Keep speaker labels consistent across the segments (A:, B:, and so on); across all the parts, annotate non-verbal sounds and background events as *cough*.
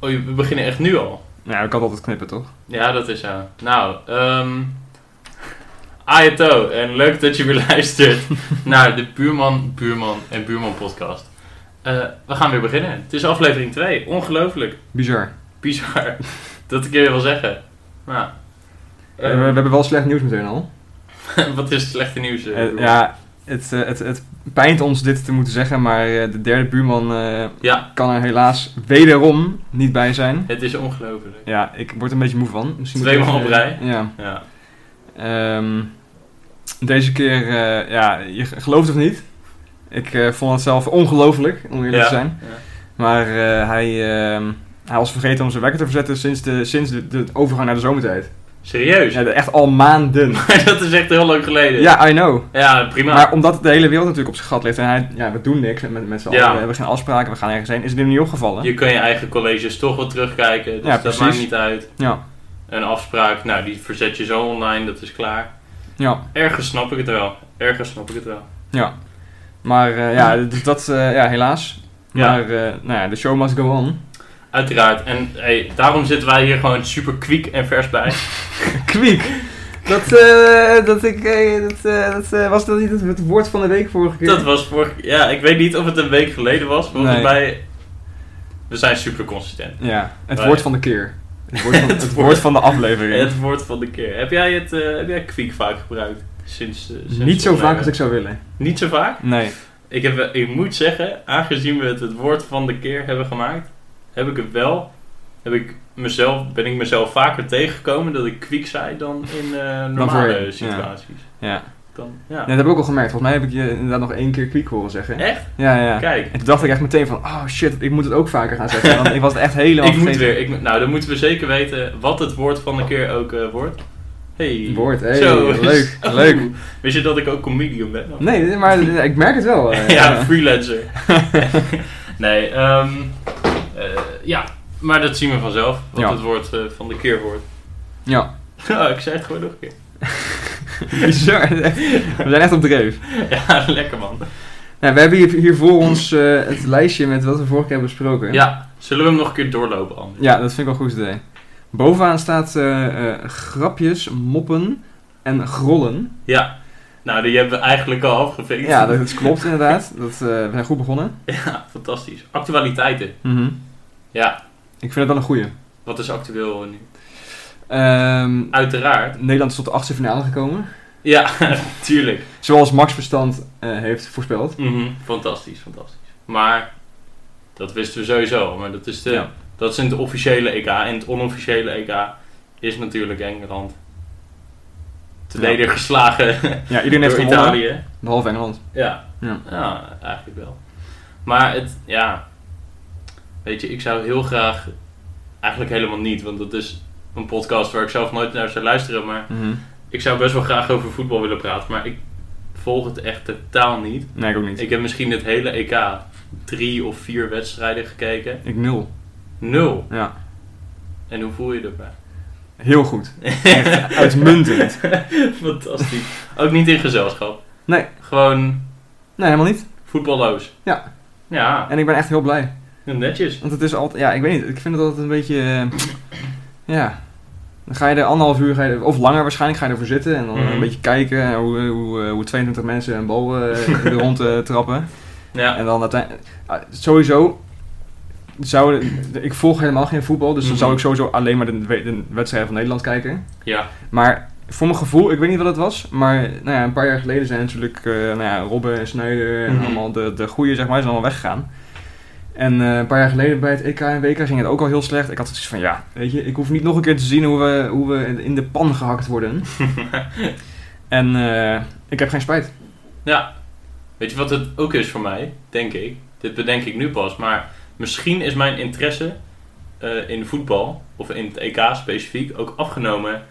A: Oh, je- we beginnen echt nu al.
B: Nou, ik kan altijd knippen, toch?
A: Ja, dat is zo. Nou, ehm Ayato, en leuk dat je weer *laughs* luistert naar de Buurman, Buurman en Buurman podcast. Eh, we gaan weer beginnen. Het is aflevering 2. Ongelooflijk.
B: Bizar.
A: Bizar. *laughs* Dat ik je wil zeggen. Nou,
B: Eh, we, we hebben wel slecht nieuws meteen al.
A: *laughs* wat is het slechte nieuws? eh,
B: Eh,
A: Buurman?
B: ja, het, eh, het, het pijnt ons dit te moeten zeggen, maar eh, de derde buurman eh,
A: Ja.
B: kan er helaas wederom niet bij zijn.
A: Het is ongelooflijk.
B: Ja, ik word er een beetje moe van. Misschien
A: Twee
B: moet ik
A: maal
B: even-
A: op rij.
B: Ja.
A: Ja.
B: Ehm, deze keer, eh, ja, je gelooft het niet. Ik eh, vond het zelf ongelooflijk, om eerlijk
A: Ja.
B: te zijn.
A: Ja.
B: Maar eh, hij, ehm, hij was vergeten om zijn wekker te verzetten sinds de, sinds de, de overgang naar de zomertijd.
A: Serieus? *laughs*
B: Ja, echt al maanden.
A: dat is echt heel lang geleden.
B: Ja, I know.
A: Ja, prima.
B: Maar omdat de hele wereld natuurlijk op zijn gat ligt en hij, ja, we doen niks met, met z'n
A: Ja.
B: allen, we hebben geen afspraken, we gaan ergens heen, is het hem niet opgevallen.
A: Je kan je eigen colleges toch wel terugkijken, dus
B: Ja,
A: dat
B: precies.
A: maakt niet uit.
B: Ja.
A: Een afspraak, nou die verzet je zo online, dat is klaar.
B: Ja,
A: Ergens snap ik het wel. Ergens snap ik het wel.
B: ja. Maar eh, ja, dus dat, eh, ja, helaas.
A: Ja.
B: Maar eh, nou ja, de show must go
A: *laughs*
B: on.
A: Uiteraard. En hey, daarom zitten wij hier gewoon super kwiek en vers
B: *laughs*
A: bij.
B: Kwiek! Dat, eh, dat ik, eh, dat, eh, dat eh, was dat niet het, het woord van de week vorige keer?
A: Dat was vorig... Ja, ik weet niet of het een week geleden was. Volgens
B: Nee.
A: mij... We zijn super consistent.
B: Ja, het
A: Oh,
B: woord
A: ja.
B: van de keer. Het
A: *laughs*
B: woord van,
A: Het
B: het
A: woord.
B: woord van de aflevering.
A: Het woord van de keer. Heb jij, het, eh, heb jij kwiek vaak gebruikt? Sinds, eh, sinds
B: niet zo
A: opnemen?
B: vaak als ik zou willen.
A: Niet zo vaak?
B: Nee.
A: Ik, heb, wel- ik moet zeggen, aangezien we het, het woord van de keer hebben gemaakt, heb ik het wel. Heb ik mezelf, ben ik mezelf vaker tegengekomen dat ik kwiek zei dan in eh, normale
B: voorheen, ja.
A: situaties.
B: Ja.
A: Dan, ja.
B: Ja, dat heb ik ook al gemerkt. Volgens mij heb ik je inderdaad nog één keer kwiek horen zeggen.
A: Echt?
B: Ja, ja.
A: Kijk.
B: En toen dacht ik echt meteen van, oh shit, ik moet het ook vaker gaan zeggen. Want ik was het echt
A: *laughs*
B: helemaal
A: ik moet
B: vergeten.
A: weer. Ik, moet- nou, dan moeten we zeker weten wat het woord van de keer ook eh, wordt. Hey.
B: Woord, hey,
A: Zo.
B: leuk,
A: Oeh.
B: leuk.
A: *laughs* Wist je dat ik ook comedian ben?
B: Nee, dit- maar ik merk het wel. *laughs* eh,
A: *laughs* ja, freelancer.
B: *laughs*
A: nee, ehm, eh, ja, maar dat zien we vanzelf. Wat
B: Ja.
A: het woord eh, van de keer wordt.
B: ja.
A: *laughs* Oh, ik zei het gewoon nog een keer. *laughs*
B: Bizar. We zijn echt op dreef.
A: Ja, lekker man.
B: Nou, we hebben hier, hier voor ons eh, het lijstje met wat we vorige keer hebben besproken.
A: Ja, zullen we hem nog een keer doorlopen anders?
B: Ja, dat vind ik wel een goed idee. Bovenaan staat eh, eh, grapjes, moppen en grollen.
A: Ja. Nou, die hebben we eigenlijk al afgevinkt.
B: Ja, dat, dat klopt inderdaad. Dat, eh, we zijn goed begonnen.
A: *laughs* Ja, fantastisch. Actualiteiten.
B: Mhm.
A: Ja,
B: Ik vind het wel een goeie.
A: wat is actueel nu?
B: Ehm,
A: Uiteraard.
B: Nederland is tot de achtste finale gekomen.
A: Ja, *laughs* tuurlijk.
B: Zoals Max Verstand eh, heeft voorspeld.
A: Mhm, Fantastisch, fantastisch. Maar, dat wisten we sowieso al, Maar dat is, de,
B: Ja.
A: dat is in het officiële EK. En het onofficiële EK is natuurlijk Engeland. Te
B: Ja.
A: leder geslagen
B: Ja, iedereen
A: *laughs*
B: heeft
A: door
B: gewonnen.
A: Italië.
B: Behalve Engeland.
A: Ja.
B: Ja.
A: Ja, eigenlijk wel. Maar het, ja. Weet je, ik zou heel graag. Eigenlijk helemaal niet, want dat is een podcast waar ik zelf nooit naar zou luisteren. Maar ik zou best wel graag over voetbal willen praten. Maar ik volg het echt totaal niet.
B: Nee, ik ook niet. Ik,
A: Ik heb misschien het hele EK drie of vier wedstrijden gekeken.
B: nul.
A: Nul.
B: Ja.
A: En hoe voel je nou? je erbij?
B: Heel goed.
A: *laughs*
B: Echt uitmuntend.
A: Fantastisch. Ook niet in gezelschap.
B: Nee.
A: Gewoon
B: Nee, helemaal niet.
A: voetballoos.
B: Ja.
A: Ja,
B: En ik ben echt heel blij.
A: netjes.
B: Want het is altijd... Ja, ik weet niet. Ik vind het altijd een beetje... eh, ja. Dan ga je er anderhalf uur, ga je er- of langer waarschijnlijk, ga je ervoor zitten. En dan
A: Mhm.
B: een beetje kijken hoe, eh, hoe, eh, hoe 22 mensen een bal eh, *laughs* in de rond eh, trappen.
A: Ja.
B: En dan uiteindelijk... ah, sowieso... Zou, ik volg helemaal geen voetbal, dus dan
A: Mhm.
B: zou ik sowieso alleen maar de, de wedstrijden van Nederland kijken.
A: Ja.
B: Maar voor mijn gevoel, ik weet niet wat het was, maar nou ja, een paar jaar geleden zijn natuurlijk eh, nou ja, Robben en Snijder en
A: Mhm.
B: allemaal de, de goeie, zeg maar, zijn allemaal weggegaan. En eh, een paar jaar geleden bij het EK en WK ging het ook al heel slecht. Ik had zoiets van, ja, weet je, ik hoef niet nog een keer te zien hoe we, hoe we in- in de pan gehakt worden.
A: *laughs*
B: en eh, ik heb geen spijt.
A: Ja, weet je wat het ook is voor mij, denk ik? Dit bedenk ik nu pas, maar misschien is mijn interesse eh, in voetbal, of in het EK specifiek, ook afgenomen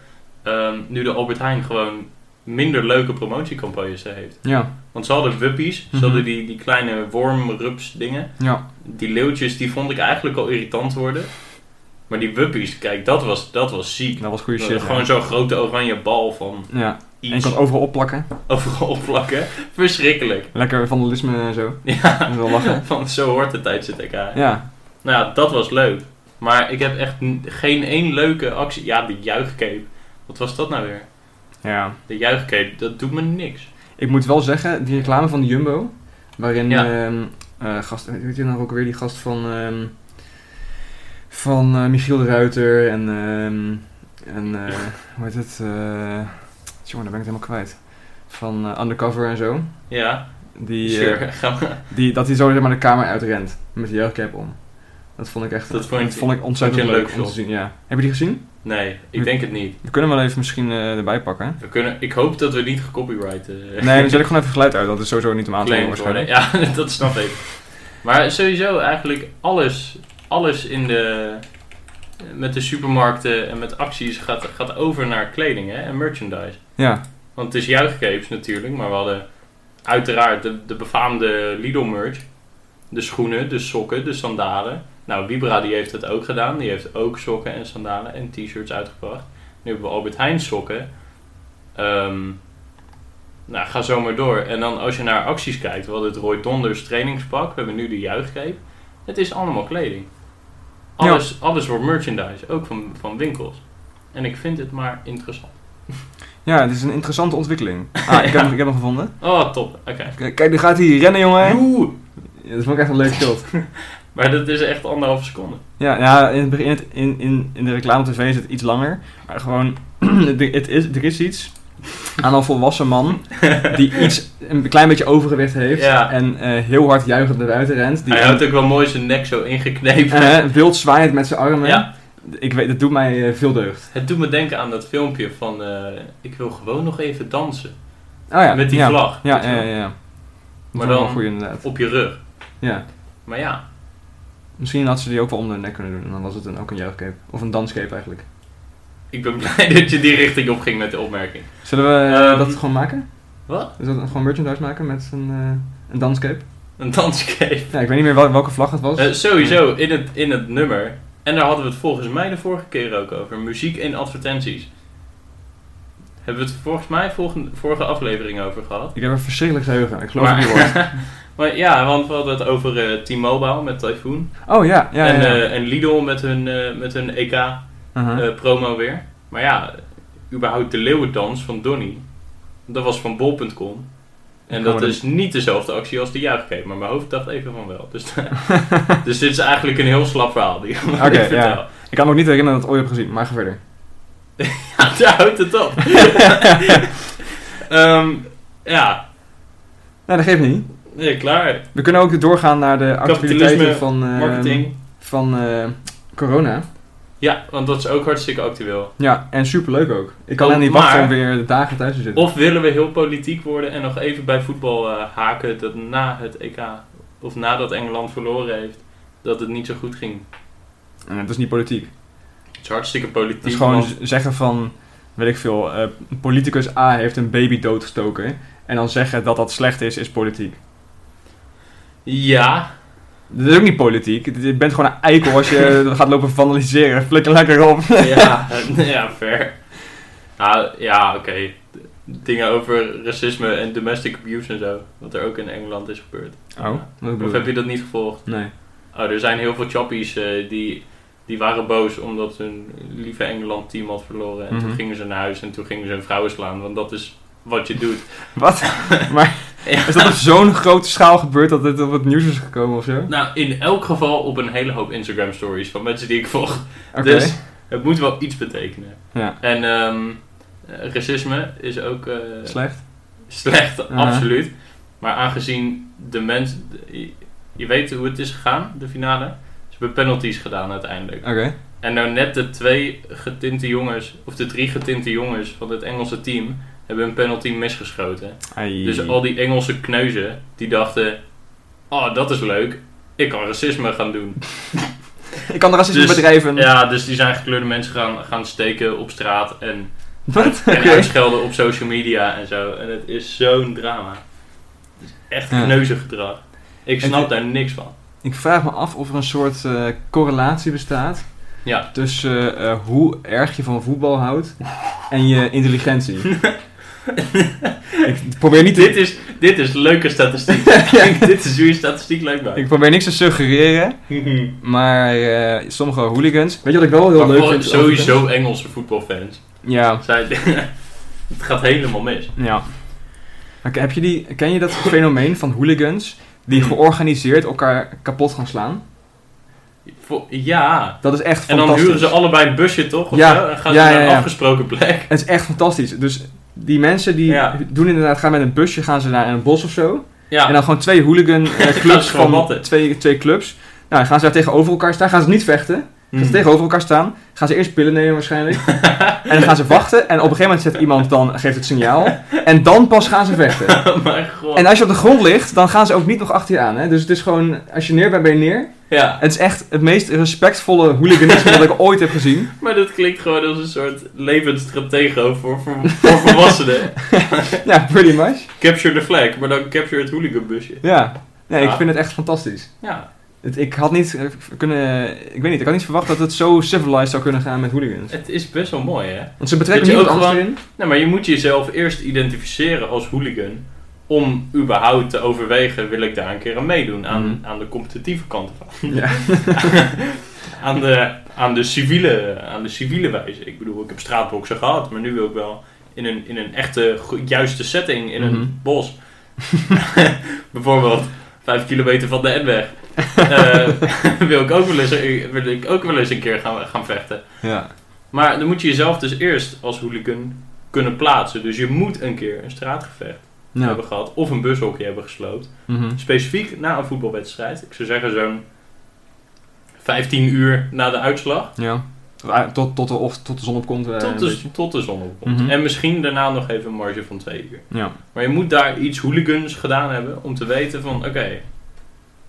A: ehm, nu de Albert Heijn gewoon minder leuke promotiecampagnes heeft.
B: Ja,
A: Want ze hadden wuppies, ze
B: Mhm.
A: hadden die, die kleine wormrups dingen.
B: ja.
A: Die leeuwtjes, die vond ik eigenlijk al irritant worden. Maar die wuppies, kijk, dat was, dat was ziek.
B: Dat was goede
A: Dat-
B: shit. ja.
A: gewoon zo'n grote oranje bal van
B: Ja, en je
A: iets
B: kan het overal opplakken.
A: overal opplakken. Verschrikkelijk. *laughs*
B: Lekker vandalisme en zo.
A: Ja. *laughs*
B: Dat is wel lachen.
A: Van zo hoort de tijd zit ik aan.
B: Ja,
A: Nou ja, dat was leuk. Maar ik heb echt n- geen één leuke actie. Ja, de juichcape. Wat was dat nou weer?
B: Ja.
A: De juichcape, dat doet me niks.
B: Ik moet wel zeggen, die reclame van de Jumbo, waarin
A: Ja.
B: ehm, eh, gast, weet je nou ook weer die gast van, ehm, van eh, Michiel de Ruiter en, ehm, en eh, hoe heet het? eh jongen, daar ben ik het helemaal kwijt. Van eh, Undercover en zo.
A: Ja,
B: Die, eh,
A: sure. *laughs* gaan we-
B: die, dat hij zo zeg maar de kamer uitrent met de jeugdcap om. Dat vond ik echt
A: Dat vond je-
B: vond ik ontzettend
A: vond je een
B: leuk
A: leuk
B: om te
A: shot?
B: zien. Ja. Heb je die gezien?
A: Nee, ik denk het niet.
B: We kunnen hem wel even misschien eh, erbij pakken.
A: We kunnen, ik hoop dat we niet gecopyright eh, *laughs*
B: Nee, dan zet ik gewoon even geluid uit. Dat is sowieso niet om aan te horen
A: claimed worden.
B: waarschijnlijk.
A: Ja, *laughs* dat snap ik. Maar sowieso eigenlijk alles, alles in de, met de supermarkten en met acties gaat, gaat over naar kleding hè, en merchandise.
B: Ja.
A: Want het is juichcapes natuurlijk, maar we hadden uiteraard de, de befaamde Lidl-merch. De schoenen, de sokken, de sandalen. Nou, Vibra die heeft dat ook gedaan. Die heeft ook sokken en sandalen en t-shirts uitgebracht. Nu hebben we Albert Heijn sokken. Ehm, nou, ga zo maar door. En dan als je naar acties kijkt, we hadden het Roy Donders trainingspak. We hebben nu de juichcape. Het is allemaal kleding.
B: Ja.
A: Alles, alles wordt merchandise, ook van, van winkels. En ik vind het maar interessant.
B: Ja, het is een interessante ontwikkeling.
A: *laughs*
B: Ah, ik, heb,
A: Ja.
B: hem- ik heb hem gevonden.
A: Oh, top. Oké.
B: K- Kijk, nu gaat hij rennen, jongen.
A: Joe!
B: Ja, dat vond ik echt een leuk shot.
A: Maar dat is echt anderhalve seconde.
B: Ja, ja in, het begin, in, het- in, in, in de reclame op tv is het iets langer. Maar gewoon, *clears throat* er- het is, er is iets aan een volwassen man
A: *laughs*
B: die iets, een klein beetje overgewicht heeft.
A: Ja.
B: En eh, heel hard juichend naar buiten rent. Die
A: Hij houdt ook wel mooi zijn nek zo ingeknepen.
B: eh, wild zwaaiend met zijn armen.
A: Ja.
B: Ik weet, dat doet mij eh, veel deugd.
A: Het doet me denken aan dat filmpje van eh, ik wil gewoon nog even dansen.
B: Oh ja,
A: Met die
B: ja.
A: vlag.
B: Ja,
A: weet je
B: ja, ja.
A: wel.
B: ja. Dat
A: Maar
B: vond ik wel
A: dan-
B: goed inderdaad.
A: Op je rug.
B: Ja.
A: Maar ja,
B: Misschien had ze die ook wel om de nek kunnen doen. En dan was het een, ook een juichcape. Of een danscape eigenlijk.
A: ik ben *laughs* blij dat je die richting op ging met de opmerking.
B: Zullen we eh,
A: Ehm,
B: dat gewoon maken?
A: Wat?
B: Dus dat gewoon merchandise maken met een, eh, een danscape?
A: Een danscape.
B: Ja, ik weet niet meer wel- welke vlag het was.
A: Eh, sowieso, in het, in het nummer. En daar hadden we het volgens mij de vorige keer ook over. Muziek in advertenties. Hebben we het volgens mij volgende, vorige aflevering over gehad.
B: ik heb een verschrikkelijk geheugen. Ik geloof het niet woord.
A: Maar, maar ja, want we hadden het over eh, T-Mobile met Typhoon. *laughs*
B: Oh ja, ja, ja.
A: en,
B: ja. Uh-huh.
A: eh, en Lidl met hun, eh, met hun
B: Aha.
A: EK-promo weer. Maar ja, überhaupt de leeuwendans van Donny. Dat was van bol.com. En
B: Gaan we
A: dat
B: dan-
A: is niet dezelfde actie als de juichcape. Maar mijn hoofd dacht even van wel. Dus,
B: *laughs*
A: *laughs* dus dit is eigenlijk een heel slap verhaal. die ik
B: Oké,
A: ik
B: ja.
A: vertel.
B: Ik kan me ook niet herinneren dat ik het ooit heb gezien. Maar ga
A: *laughs*
B: verder.
A: Ja, *laughs* daar houdt het
B: *laughs*
A: op. Ehm, ja,
B: Nou, dat geeft niet.
A: nee, klaar.
B: We kunnen ook doorgaan naar de actualiteiten
A: Kapitalisme,
B: van, eh,
A: Marketing.
B: van eh, corona.
A: Ja, want dat is ook hartstikke actueel.
B: Ja, en superleuk ook. Ik kan
A: Oh,
B: er niet wachten
A: maar-
B: om weer de dagen thuis te zitten.
A: Of willen we heel politiek worden en nog even bij voetbal eh, haken dat na het EK, of nadat Engeland verloren heeft, dat het niet zo goed ging.
B: Eh, dat is niet politiek.
A: Het is hartstikke
B: Het
A: politiek.
B: is gewoon
A: want-
B: z- zeggen van, weet ik veel, eh, politicus A heeft een baby doodgestoken. En dan zeggen dat dat slecht is, is politiek. *laughs*
A: Ja,
B: Dat is ook niet politiek. Je bent gewoon een eikel
A: *laughs*
B: als je gaat lopen vandaliseren. Flikker lekker op.
A: ja, *laughs* ja, fair. Nou, ja, oké. Dingen over racisme en domestic abuse en zo, wat er ook in Engeland is gebeurd.
B: Oh, wat
A: Of heb je dat niet gevolgd?
B: Nee.
A: Oh, er zijn heel veel choppies eh, die, die waren boos omdat hun lieve Engeland-team had verloren. En
B: Mhm.
A: toen gingen ze naar huis en toen gingen ze hun vrouwen slaan, want dat is wat je doet.
B: Wat? maar
A: Ja.
B: is dat op zo'n grote schaal gebeurd dat dit op het nieuws is gekomen of zo? Oké.
A: *laughs* Nou, in elk geval op een hele hoop Instagram-stories van mensen die ik volg. Dus het moet wel iets betekenen.
B: Ja.
A: En ehm, eh, racisme is ook eh,
B: Slecht.
A: slecht,
B: Ja.
A: absoluut. Maar aangezien de mensen... Je, je weet hoe het is gegaan, de finale. Ze hebben penalties gedaan uiteindelijk.
B: Oké.
A: En nou net de twee getinte jongens, of de drie getinte jongens van het Engelse team, hebben een penalty misgeschoten.
B: Ai.
A: Dus al die Engelse kneuzen, die dachten, oh dat is leuk, ik kan racisme gaan doen.
B: Ik kan de racisme
A: Dus-
B: bedrijven.
A: Ja, dus die zijn gekleurde mensen gaan, gaan steken op straat
B: *laughs*
A: en,
B: *laughs* Wat?
A: en
B: Oké.
A: uitschelden op social media en zo. En het is zo'n drama. Het is echt
B: Ja.
A: kneuzen gedrag. Ik
B: En
A: snap
B: dit-
A: daar niks van.
B: Ik vraag me af of er een soort eh, correlatie bestaat
A: Ja. *laughs*
B: tussen eh, eh, hoe erg je van voetbal houdt en je intelligentie. ik probeer niet te,
A: Dit is, dit is leuke
B: *laughs*
A: statistiek. dit is hoe je statistiek leuk *laughs*
B: ik probeer niks te suggereren,
A: maakt.
B: maar eh, sommige hooligans... Weet je wat ik wel heel
A: Maar
B: leuk
A: voor-
B: vind?
A: sowieso Engelse voetbalfans.
B: Ja,
A: Zij, *laughs* het gaat helemaal mis.
B: ja. Maar Heb je die, ken je dat fenomeen van hooligans die
A: Hmm.
B: georganiseerd elkaar kapot gaan slaan?
A: Voor- ja.
B: Dat is echt
A: En
B: fantastisch.
A: dan huren ze allebei een busje toch? Of
B: Ja.
A: zo? En gaan
B: Ja,
A: ze
B: ja,
A: naar een
B: ja.
A: afgesproken plek.
B: Het is echt fantastisch. Dus die mensen die
A: Ja.
B: doen inderdaad, gaan met een busje gaan ze naar een bos of zo.
A: *laughs* Ja.
B: En dan gewoon twee
A: *laughs*
B: hooligan eh,
A: gaan
B: clubs
A: ze gewoon
B: van
A: matten.
B: twee, twee clubs. Nou, dan gaan ze daar tegenover elkaar staan. Gaan ze niet vechten. Gaan
A: Hmm.
B: ze tegenover elkaar staan. Gaan ze eerst pillen nemen waarschijnlijk.
A: *laughs*
B: en dan gaan ze wachten. En op een gegeven moment zet iemand dan, geeft het signaal. En dan pas gaan ze vechten.
A: *laughs* Oh mijn god.
B: En als je op de grond ligt, dan gaan ze ook niet nog achter je aan. Hè? Dus het is gewoon, als je neer bent, ben je neer.
A: Ja.
B: Het is echt het meest respectvolle hooliganisme dat ik ooit heb gezien.
A: Maar dat klinkt gewoon als een soort levensstratego voor, voor, voor *laughs* volwassenen.
B: Ja, pretty much.
A: Capture the flag, maar dan capture het hooliganbusje.
B: Ja. Nee, ik
A: Ja.
B: vind het echt fantastisch.
A: Ja,
B: Het- ik had niet eh, kunnen. Ik weet niet, ik had niet verwacht dat het zo civilized zou kunnen gaan met hooligans.
A: het is best wel mooi hè.
B: Want ze betrekken
A: Weet je
B: niemand
A: ook
B: anders in.
A: Nou, maar je moet jezelf eerst identificeren als hooligan om überhaupt te overwegen, wil ik daar een keer aan meedoen, aan,
B: Mhm.
A: aan de competitieve kant van. *laughs*
B: Ja.
A: aan, de, aan, de civiele, aan de civiele wijze. Ik bedoel, ik heb straatboksen gehad, maar nu wil ik wel in een, in een echte, go- juiste setting, in
B: Mhm.
A: een bos. *laughs* Bijvoorbeeld, vijf kilometer van de N-weg. Eh, *laughs* wil, ik ook wel eens, eh, wil ik ook wel eens een keer gaan, gaan vechten.
B: ja.
A: Maar dan moet je jezelf dus eerst als hooligan kunnen plaatsen. Dus je moet een keer een straatgevecht
B: Nou.
A: hebben gehad of een bushokje hebben gesloopt.
B: mhm.
A: Specifiek na een voetbalwedstrijd. Ik zou zeggen zo'n 15 uur na de uitslag.
B: Ja. Ah, Tot, tot, de, of, tot de zon opkomt. eh,
A: Tot
B: een
A: de,
B: beetje.
A: tot de zon opkomt.
B: Mhm.
A: En misschien daarna nog even een marge van twee uur.
B: Ja.
A: Maar je moet daar iets hooligans gedaan hebben om te weten van oké,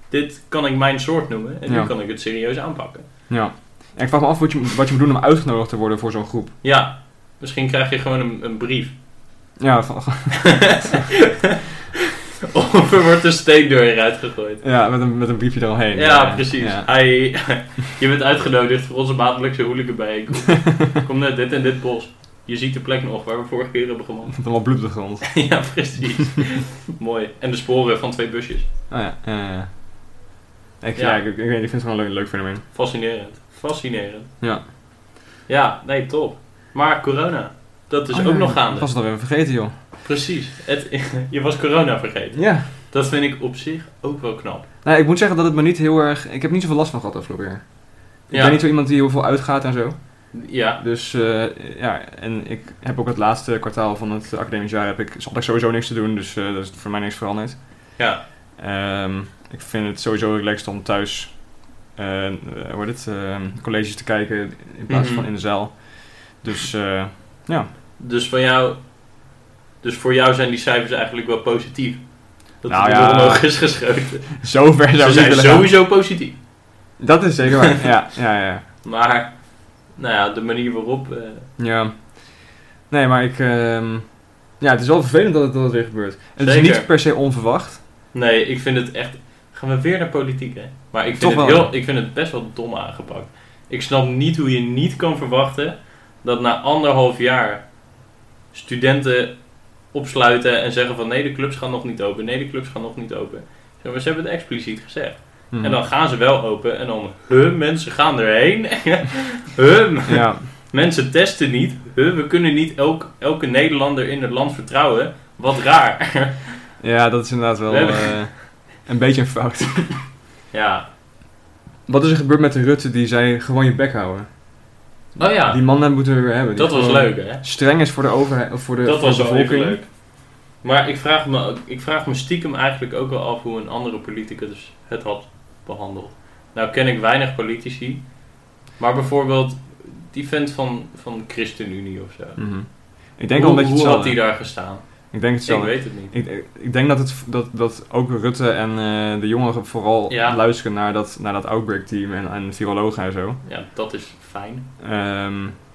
A: dit kan ik mijn soort noemen en
B: Ja.
A: nu kan ik het serieus aanpakken.
B: ja. En ik vraag me af wat je, wat je moet doen om uitgenodigd te worden voor zo'n groep.
A: Ja, misschien krijg je gewoon een, een
B: *laughs*
A: brief.
B: Ja, van- *laughs*
A: of er wordt een steen door je uitgegooid.
B: ja met, een, met een briefje eromheen.
A: Ja,
B: Eh,
A: precies.
B: Ja.
A: Hij, *laughs* je bent uitgenodigd voor onze maandelijkse
B: *laughs*
A: hooliganbijeenkomst. Kom naar dit en dit bos. Je ziet de plek nog waar we vorige keer hebben gewonnen.
B: Met allemaal bloed op de grond.
A: *laughs* ja, precies. *laughs* Mooi. En de sporen van twee busjes.
B: Oh, ja. ja, ja. Ik,
A: Ja.
B: ja. ik, ik, weet niet, ik vind het gewoon een leuk, leuk fenomeen.
A: Fascinerend. Fascinerend.
B: Ja.
A: Ja, nee, top. Maar corona, dat is
B: Oh,
A: ook
B: ja,
A: nog
B: Ik
A: gaande.
B: was het alweer vergeten, joh.
A: Precies. Het, *laughs* je was corona vergeten.
B: Ja.
A: Dat vind ik op zich ook wel knap.
B: Nou, ik moet zeggen dat het me niet heel erg... Ik heb niet zoveel last van gehad afgelopen jaar. Ik
A: Ja.
B: ben niet zo iemand die heel veel uitgaat en zo.
A: Ja,
B: Dus eh, ja, en ik heb ook het laatste kwartaal van het academisch jaar heb ik, had ik sowieso niks te doen, dus eh dat is voor mij niks veranderd.
A: ja.
B: Ehm, ik vind het sowieso relaxed om thuis eh, eh, hoe heet het, ehm, colleges te kijken in plaats
A: Mhm.
B: van in de zaal. Dus eh, *laughs*
A: Dus van jou... Dus voor jou zijn die cijfers eigenlijk wel positief. Dat
B: Nou
A: het
B: ja.
A: weer omhoog is
B: *laughs*
A: geschoten.
B: zover zou
A: Ze
B: ik niet
A: zijn
B: willen gaan.
A: sowieso positief.
B: Dat is zeker waar, ja, ja, ja.
A: Maar, nou ja, de manier waarop... eh,
B: Ja. Nee, maar ik... ehm, ja, het is wel vervelend dat het, dat het weer gebeurt. Het is
A: Zeker.
B: niet per se onverwacht.
A: nee, ik vind het echt... Gaan we weer naar politiek, hè? Maar ik vind,
B: Toch
A: het,
B: wel.
A: heel, ik vind het best wel dom aangepakt. Ik snap niet hoe je niet kan verwachten... dat na anderhalf jaar studenten opsluiten en zeggen van... nee, de clubs gaan nog niet open, nee, de clubs gaan nog niet open. Zeg Maar ze hebben het expliciet gezegd.
B: Mhm.
A: En dan gaan ze wel open en dan... Huh, mensen gaan erheen. *laughs* huh,
B: *laughs* Ja,
A: Mensen testen niet. Huh, we kunnen niet elk, elke Nederlander in het land vertrouwen. Wat raar.
B: ja, dat is inderdaad wel
A: We hebben-
B: eh, een beetje een fout. *laughs*
A: Ja.
B: Wat is er gebeurd met de Rutte die zei gewoon je bek houden?
A: Oh ja,
B: Die mannen moeten we weer hebben. die
A: dat was
B: gewoon
A: leuk hè.
B: Streng is voor de overheid of voor de,
A: Dat
B: voor
A: was
B: de
A: wel even
B: bevolking.
A: leuk. Maar ik vraag, me, ook- ik vraag me stiekem eigenlijk ook wel af hoe een andere politicus het had behandeld. Nou ken ik weinig politici. Maar bijvoorbeeld die vent van, van ChristenUnie of zo.
B: Mhm. Ik denk
A: hoe,
B: wel een beetje
A: hoe had
B: hetzelfde.
A: hij daar gestaan?
B: Ik denk
A: Ik
B: hetzelfde.
A: weet het niet.
B: Ik, ik, ik denk dat, het, dat, dat ook Rutte en eh, de jongeren vooral
A: Ja.
B: luisteren naar dat, naar dat outbreak team en, en virologen en zo.
A: Ja, dat is fijn.
B: Ehm,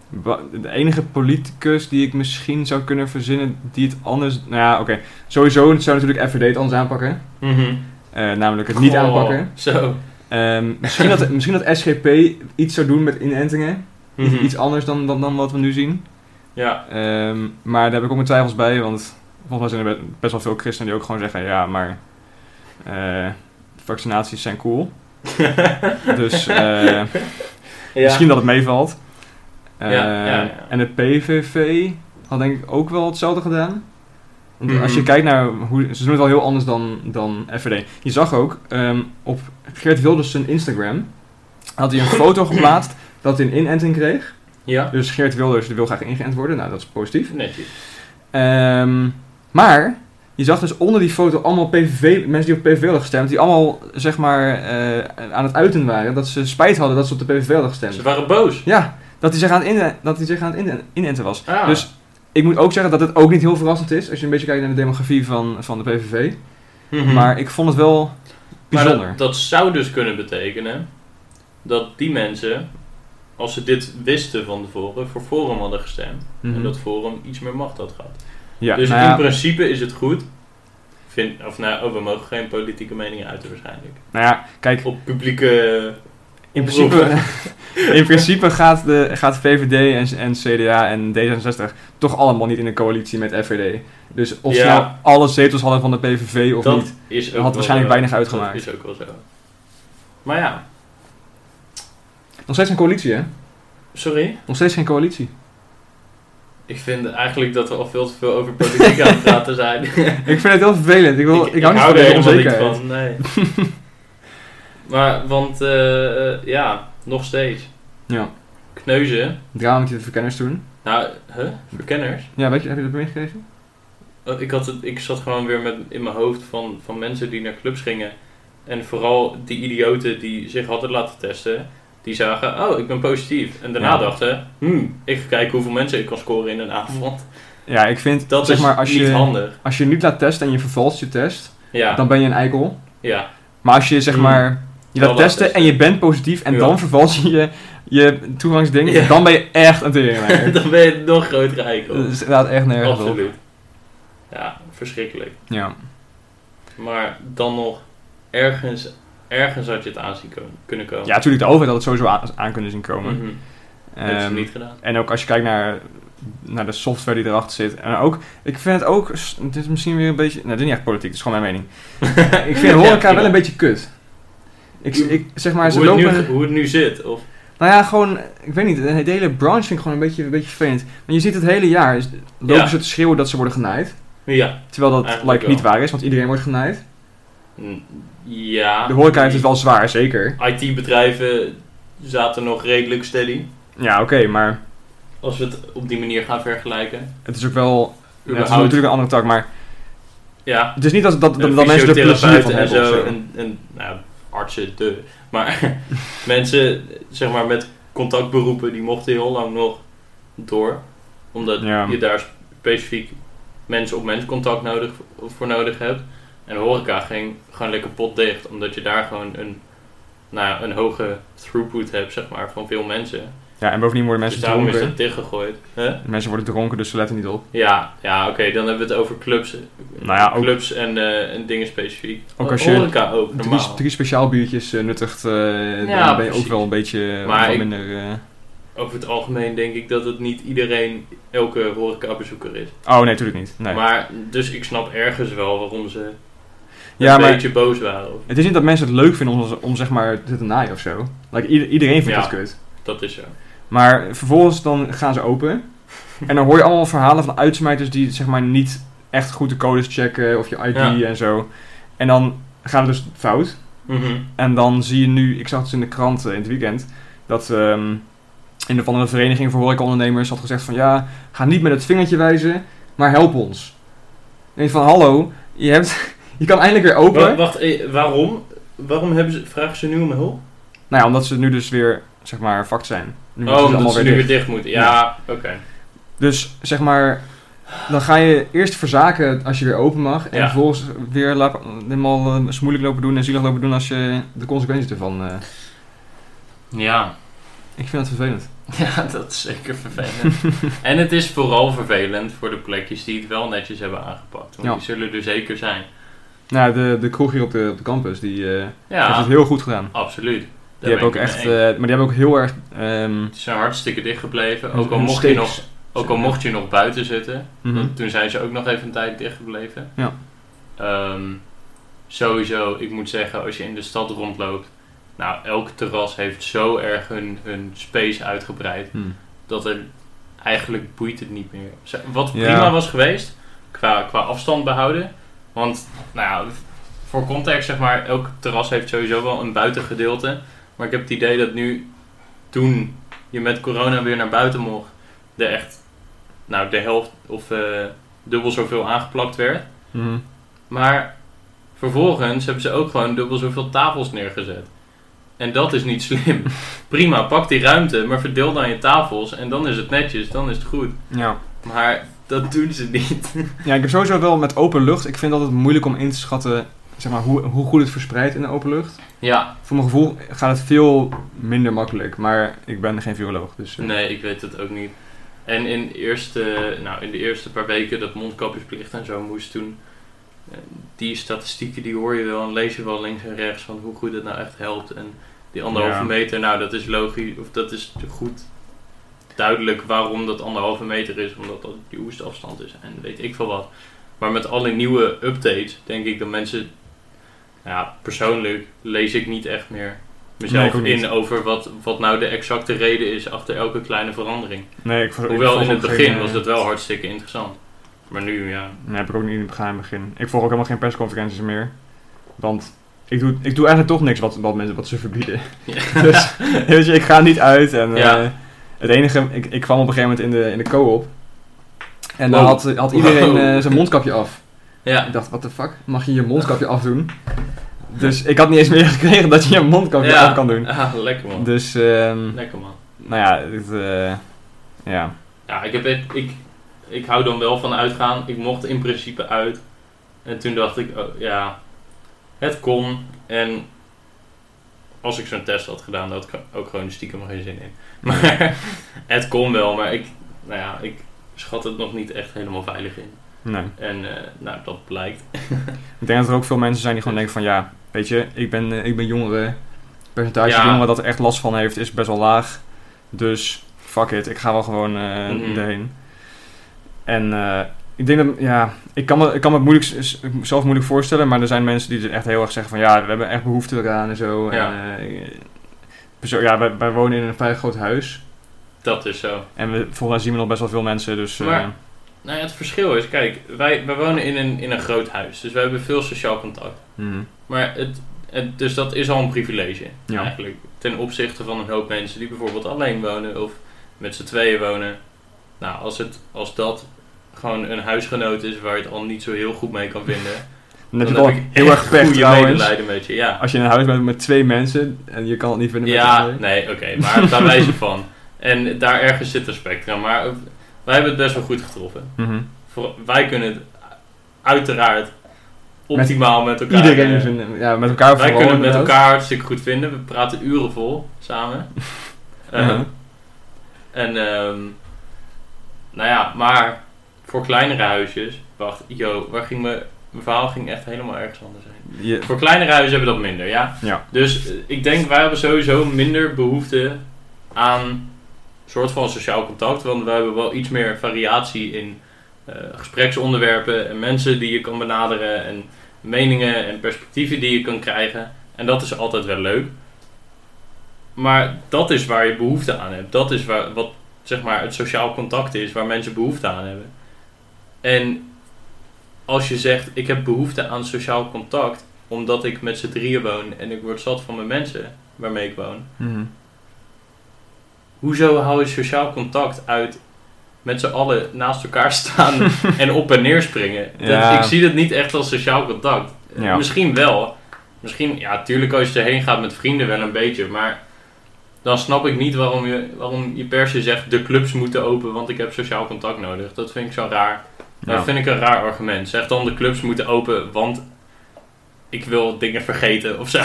B: wa- de enige politicus die ik misschien zou kunnen verzinnen die het anders... Nou ja, oké. Sowieso zou natuurlijk FVD het anders aanpakken. Eh, namelijk het niet
A: Goh,
B: aanpakken.
A: Zo.
B: Ehm, misschien, dat, misschien dat SGP iets zou doen met inentingen. Iets-
A: Mhm.
B: Iets anders dan, dan, dan wat we nu zien.
A: Ja,
B: Ehm, maar daar heb ik ook mijn twijfels bij, want volgens mij zijn er be- best wel veel christenen die ook gewoon zeggen: ja, maar eh, vaccinaties zijn
A: *laughs*
B: cool. dus eh, misschien dat het meevalt. Eh,
A: Ja, ja, ja.
B: En de PVV had denk ik ook wel hetzelfde gedaan. Want
A: Mhm.
B: Als je kijkt naar hoe ze doen het wel heel anders dan, dan FVD. Je zag ook ehm, op Geert Wilders zijn Instagram had hij een foto geplaatst dat hij een inenting kreeg.
A: Ja,
B: Dus Geert Wilders die wil graag ingeënt worden. Nou, dat is positief.
A: netjes.
B: Ehm, maar je zag dus onder die foto allemaal PVV, mensen die op PVV hadden gestemd, die allemaal zeg maar eh, aan het uiten waren dat ze spijt hadden dat ze op de PVV hadden gestemd.
A: Ze waren boos.
B: Ja, dat hij zich aan het, in, dat hij zich aan het in, inenten was.
A: Ah,
B: Dus ik moet ook zeggen dat het ook niet heel verrassend is als je een beetje kijkt naar de demografie van, van de PVV.
A: mhm.
B: Maar ik vond het wel
A: Maar
B: bijzonder.
A: dat, dat zou dus kunnen betekenen dat die mensen, als ze dit wisten van tevoren, voor Forum hadden gestemd.
B: Mhm.
A: En dat Forum iets meer macht had gehad.
B: ja,
A: dus
B: nou
A: in
B: ja,
A: principe is het goed. Vind, of nou, oh, we mogen geen politieke meningen uiten waarschijnlijk.
B: nou ja, kijk,
A: Op publieke...
B: in principe, *laughs* in principe gaat, de, gaat VVD en, en CDA en D66 toch allemaal niet in een coalitie met FVD. Dus of ze
A: Ja.
B: nou alle zetels hadden van de PVV of
A: dat
B: niet.
A: is ook
B: had
A: wel
B: waarschijnlijk
A: zo.
B: weinig uitgemaakt.
A: Dat is ook wel zo. Maar ja,
B: Nog steeds geen coalitie, hè?
A: sorry.
B: Nog steeds geen coalitie. *laughs*
A: Ik vind eigenlijk dat we al veel te veel *laughs* over politiek aan het praten zijn. *laughs*
B: Ik vind het heel vervelend. Ik, wil, ik, hou niet van
A: er
B: deze
A: helemaal niet
B: onzekerheid.
A: van, nee. maar, want, eh, eh, ja, nog steeds.
B: Ja.
A: Kneuzen.
B: Drametje de verkenners toen.
A: Nou, huh? Verkenners?
B: Ja, weet je, heb je dat meegekregen?
A: Oh, Ik, had het, ik zat gewoon weer met, in mijn hoofd van, van mensen die naar clubs gingen. En vooral die idioten die zich hadden laten testen. Die zagen, oh, ik ben positief. En daarna
B: Ja.
A: dachten, hmm, ik ga kijken hoeveel mensen ik kan scoren in een avond.
B: Ja, ik vind,
A: Dat
B: zeg
A: is
B: maar, als
A: niet
B: je,
A: handig.
B: als je niet laat testen en je vervalst je test,
A: Ja,
B: dan ben je een eikel.
A: ja.
B: Maar als je, zeg
A: Mm.
B: maar, je
A: Wel
B: laat
A: laat
B: testen en
A: testen.
B: je bent positief en
A: Ja.
B: dan vervals je je, je toegangsding,
A: Ja.
B: dan ben je echt een teringleider.
A: *laughs* dan ben je een nog grotere eikel.
B: Dat is inderdaad echt nergens op.
A: Absoluut. Ja, verschrikkelijk.
B: Ja.
A: Maar dan nog, ergens, ergens had je het aan zien komen, kunnen komen.
B: ja, natuurlijk, de overheid had het sowieso aan, aan kunnen zien komen.
A: Mhm.
B: Ehm,
A: Hebben ze niet gedaan.
B: En ook als je kijkt naar, naar de software die erachter zit. En ook, ik vind het ook, s- dit is misschien weer een beetje, nou dit is niet echt politiek, dit is gewoon mijn mening. *laughs* ik vind horeca wel een beetje kut. Ik, ik, zeg maar, ze
A: hoe,
B: lopen...
A: het nu, hoe het nu zit. Of,
B: Nou ja, gewoon, ik weet niet, de de hele branche vind ik gewoon een beetje, een beetje vervelend. Want je ziet het hele jaar, is- lopen
A: Ja.
B: ze te schreeuwen dat ze worden genaaid.
A: ja.
B: Terwijl dat
A: Eigenlijk
B: like, niet
A: wel.
B: waar is, want iedereen wordt genaaid.
A: Mm, ja.
B: De horeca heeft het wel zwaar, zeker.
A: IT-bedrijven zaten nog redelijk steady.
B: Ja, oké, maar
A: Als we het op die manier gaan vergelijken.
B: het is ook wel... ja, het is
A: Überhaupt.
B: natuurlijk een andere tak, maar
A: Ja.
B: het is niet dat, dat, dat,
A: de
B: dat mensen er plezier van
A: fysiotherapeuten en
B: hebben. of
A: zo.
B: zo.
A: En, en nou, artsen, de. Maar *laughs* mensen, zeg maar, met contactberoepen, die mochten heel lang nog door. Omdat
B: Ja.
A: je daar specifiek mens-op-mens contact nodig, voor nodig hebt. En horeca ging gewoon lekker potdicht. Omdat je daar gewoon een, nou, ja, een hoge throughput hebt, zeg maar, van veel mensen.
B: Ja, en bovendien worden
A: Dus
B: mensen
A: daarom is
B: dronken.
A: dat dichtgegooid. Huh?
B: Mensen worden dronken, dus ze letten niet op.
A: Ja, ja oké, dan hebben we het over clubs.
B: Nou ja, ook-
A: clubs en, eh, en dingen specifiek.
B: Ook als je
A: horeca ook, normaal.
B: Drie, drie speciaal biertjes eh, nuttigt, eh,
A: Ja,
B: dan ben je
A: precies.
B: ook wel een beetje
A: Maar
B: wel
A: ik-
B: minder... eh,
A: Over het algemeen denk ik dat het niet iedereen elke horecabezoeker is.
B: Oh, nee, natuurlijk niet. Nee.
A: Maar, dus ik snap ergens wel waarom ze een
B: ja, maar
A: beetje boos waren. Of,
B: het is niet dat mensen het leuk vinden om, om zeg maar te naaien of zo. Like, ieder- iedereen vindt
A: Ja.
B: dat kut.
A: dat is zo.
B: Maar vervolgens dan gaan ze open. en dan hoor je allemaal verhalen van uitsmijters die zeg maar niet echt goed de codes checken of je ID
A: Ja.
B: en zo. En dan gaat het dus fout.
A: Mhm.
B: En dan zie je nu, ik zag het in de krant eh, in het weekend, dat ehm een of andere vereniging voor horecaondernemers had gezegd van ja, ga niet met het vingertje wijzen, maar help ons. En ik denk van hallo, je, hebt, *laughs* je kan eindelijk weer open.
A: Wa- wacht, eh, waarom? Waarom hebben ze, vragen ze nu om hulp?
B: Nou ja, omdat ze nu dus weer, zeg maar, vakt zijn. Nu moeten
A: oh, omdat
B: allemaal
A: ze nu weer
B: dicht.
A: dicht moeten. Ja, oké.
B: Dus, zeg maar, dan ga je eerst verzaken als je weer open mag. En
A: Ja.
B: vervolgens weer lap- helemaal eh, smoeilijk lopen doen en zielig lopen doen als je de consequenties ervan... eh,
A: Ja.
B: ik vind dat vervelend.
A: *laughs* ja, dat is zeker
B: *laughs*
A: vervelend. en het is vooral vervelend voor de plekjes die het wel netjes hebben aangepakt. Want
B: Ja.
A: die zullen er zeker zijn.
B: Nou, de, de kroeg hier op de, op de campus, die eh, heeft
A: Ja,
B: het heel goed gedaan.
A: absoluut.
B: Die hebben ook echt, eh, maar die hebben ook heel erg... ehm,
A: Ze zijn hartstikke dicht gebleven.
B: hun-
A: Ook al
B: hun
A: mocht je nog
B: steeks-
A: Ook al mocht je nog buiten zitten.
B: Mhm.
A: want Toen zijn ze ook nog even een tijd dichtgebleven.
B: Ja.
A: Ehm, sowieso, ik moet zeggen, als je in de stad rondloopt. Nou, elk terras heeft zo erg hun, hun space uitgebreid.
B: Hm.
A: dat er eigenlijk boeit het niet meer. Zo- Wat
B: Ja.
A: prima was geweest, qua, qua afstand behouden. Want, nou ja, voor context zeg maar, elk terras heeft sowieso wel een buitengedeelte. Maar ik heb het idee dat nu, toen je met corona weer naar buiten mocht, er echt, nou, de helft of eh, dubbel zoveel aangeplakt werd.
B: Mhm.
A: Maar vervolgens hebben ze ook gewoon dubbel zoveel tafels neergezet. En dat is niet slim. Prima, pak die ruimte, maar verdeel dan je tafels en dan is het netjes, dan is het goed.
B: Ja.
A: Maar dat doen ze niet.
B: ja, ik heb sowieso wel met open lucht. Ik vind het altijd moeilijk om in te schatten zeg maar, hoe, hoe goed het verspreidt in de open lucht.
A: Ja,
B: Voor mijn gevoel gaat het veel minder makkelijk. Maar ik ben geen viroloog, dus... eh,
A: nee, ik weet het ook niet. En in de eerste, nou, in de eerste paar weken dat mondkapjesplicht en zo moest toen... eh, Die statistieken die hoor je wel en lees je wel links en rechts van hoe goed het nou echt helpt. En die anderhalve
B: Ja.
A: meter, nou dat is logisch, of dat is goed duidelijk waarom dat anderhalve meter is. Omdat dat die oestafstand is en weet ik veel wat. Maar met alle nieuwe updates denk ik dat mensen... Ja, persoonlijk lees ik niet echt meer mezelf
B: ik ook niet.
A: in over wat, wat nou de exacte reden is achter elke kleine verandering.
B: nee, Oh, ik, volg- ik
A: Hoewel
B: volg
A: in het
B: ook geen,
A: begin
B: eh,
A: was dat wel hartstikke interessant. Maar nu, ja.
B: Nee, heb ik ook niet in het begin- in het begin. Ik volg ook helemaal geen persconferenties meer. Want ik doe, ik doe eigenlijk toch niks wat, wat, mensen, wat ze verbieden. *laughs*
A: *laughs*
B: Dus weet je, ik ga niet uit. En,
A: Ja.
B: eh, het enige, ik, ik kwam op een gegeven moment in de, in de co-op. En dan
A: Wow.
B: had, had iedereen
A: Wow.
B: eh, zijn mondkapje af.
A: Ja,
B: Ik dacht, what the fuck? Mag je je mondkapje afdoen? Dus ik had niet eens meer *laughs* gekregen dat je je mondkapje
A: Ja.
B: af kan doen.
A: Ah, lekker man.
B: Dus, ehm,
A: Lekker man.
B: nou ja, het, eh, ja.
A: Ja, ik, heb echt, ik, ik hou dan wel van uitgaan. Ik mocht in principe uit. En toen dacht ik, oh, ja, het kon. En als ik zo'n test had gedaan, dan had ik ook gewoon stiekem geen zin in. *laughs* Maar het kon wel, maar ik, nou ja, ik schat het nog niet echt helemaal veilig in.
B: Nee.
A: En eh, nou, dat blijkt.
B: Ik denk dat er ook veel mensen zijn die gewoon denken van ja, weet je, ik ben, eh, ik ben jongeren. Het percentage
A: Ja.
B: jongeren dat er echt last van heeft is best wel laag. Dus fuck it, ik ga wel gewoon eh
A: Mhm.
B: erheen. En eh, ik denk dat, ja, ik kan, me, ik kan me het moeilijk, s- zelf moeilijk voorstellen, maar er zijn mensen die er echt heel erg zeggen van ja, we hebben echt behoefte eraan en zo.
A: Ja.
B: En, eh, perso- ja wij, wij wonen in een vrij groot huis.
A: Dat is zo.
B: En we, volgens mij zien we nog best wel veel mensen, dus... eh,
A: Maar- Nou ja, het verschil is, kijk, wij, wij wonen in een, in een groot huis. Dus we hebben veel sociaal contact.
B: mhm.
A: Maar het, het- dus dat is al een privilege
B: Ja.
A: eigenlijk. Ten opzichte van een hoop mensen die bijvoorbeeld alleen wonen of met z'n tweeën wonen. Nou, als, het, als dat gewoon een huisgenoot is waar je het al niet zo heel goed mee kan vinden.
B: *laughs* Dan heb je
A: dan
B: wel
A: heb ik
B: heel erg pech
A: goede
B: trouwens.
A: medelijden met je, ja.
B: Als je in een huis bent met twee mensen en je kan het niet vinden met
A: Ja,
B: anderen.
A: nee, oké, maar
B: *laughs*
A: daar wijzen van. En daar ergens zit een spectrum. Maar eh, wij hebben het best wel goed getroffen.
B: Mhm.
A: Voor, wij kunnen het uiteraard optimaal met, elkaar...
B: Iedereen
A: eh,
B: vinden, ja, met elkaar
A: Wij
B: vooral
A: kunnen het met
B: inderdaad.
A: elkaar hartstikke goed vinden. We praten uren vol samen. Eh,
B: *laughs* Ja.
A: En ehm, nou ja, maar voor kleinere huisjes. Wacht, yo, waar ging me, mijn verhaal ging echt helemaal ergens anders heen.
B: Je-
A: Voor kleinere huizen hebben we dat minder, ja.
B: Ja.
A: Dus eh, ik denk wij hebben sowieso minder behoefte aan soort van sociaal contact. Want wij hebben wel iets meer variatie in eh, gespreksonderwerpen en mensen die je kan benaderen en meningen en perspectieven die je kan krijgen. En dat is altijd wel leuk. Maar dat is waar je behoefte aan hebt. Dat is waar, wat zeg maar, het sociaal contact is waar mensen behoefte aan hebben. En als je zegt, ik heb behoefte aan sociaal contact, omdat ik met z'n drieën woon en ik word zat van mijn mensen waarmee ik woon.
B: Mhm.
A: Hoezo hou je sociaal contact uit met z'n allen naast elkaar
B: *laughs*
A: staan en op en neer springen? Dat-
B: Ja.
A: ik zie dat niet echt als sociaal contact. Eh,
B: Ja.
A: Misschien wel. Misschien, ja, tuurlijk als je erheen gaat met vrienden wel een beetje, maar dan snap ik niet waarom je, waarom je per se zegt de clubs moeten open, want ik heb sociaal contact nodig. Dat vind ik zo raar.
B: Ja.
A: Dat vind ik een raar argument. Zeg dan de clubs moeten open, want ik wil dingen vergeten of
B: *laughs*
A: zo.